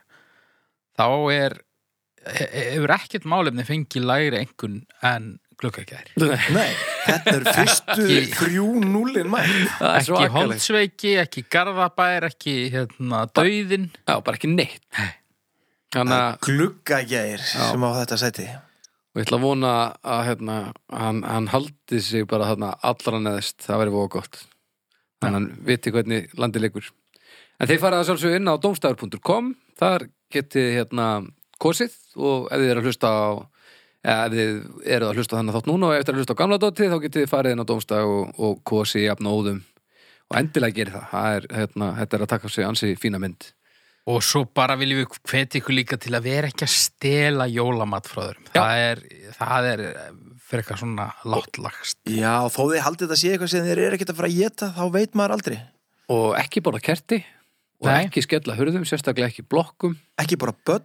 C: þá er he- hefur ekkert málefni fengið lægri engun en gluggagjær
A: Nei, þetta eru fyrstu
C: Ekki-
A: þrjú núlin mætt.
B: Það er sko.
C: ekki
B: svakalegt.
C: holdsveiki, ekki garðabær ekki hérna döiðin
B: Já, bara ekki neitt Þannig að
A: Gluggagæðir
B: Já.
A: sem á þetta seti.
B: og ég ætla að vona að hérna, hann, hann haldi sig bara þarna allra neðist, það væri voða gott þannig að hann viti hvernig landið leikur en þeir fara að sjálfsög inn á domstafur.com þar getið hérna kosið og ef þið eru að hlusta á eða ef þið eru að hlusta þannig þátt núna og eftir að hlusta á gamla dóti þá getið þið farið inn á domstaf og, og kosið jafn og óðum og endilega gerir það, það er, hérna, þetta er að taka sig ansi fína mynd
C: og svo bara viljum við hveti ykkur líka til að vera ekki að stela jólamat frá þeirum
B: Já.
C: það er, það er frekar svona látlagst
A: Já, þó þið haldið þetta sé eitthvað sem þeir eru ekkert að fara að geta, þá veit maður aldrei.
B: og ekki borða kerti og
C: Nei.
B: ekki skella hurðum, sérstaklega ekki blokkum
A: ekki bara börn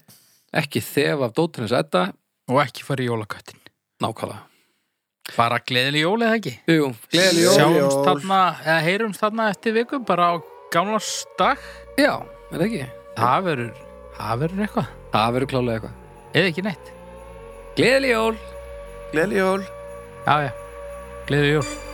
B: ekki þef af dótrinins þetta
C: Og ekki fara í jólaköttin.
B: nákvæmlega
C: Bara gleðileg jól eða ekki?
B: Jú, gleðileg jól
A: Sjá-
C: Sjáumst
A: jól.
C: þarna, eða heyrumst þarna eftir viku bara á gamlarsdag.
B: Já, er það ekki?
C: Það verður, það verður eitthvað.
B: Það verður klálega eitthvað
C: Eða ekki neitt.
B: Gleðileg jól
A: gleðli jól
C: Já, já. Gleðileg jól.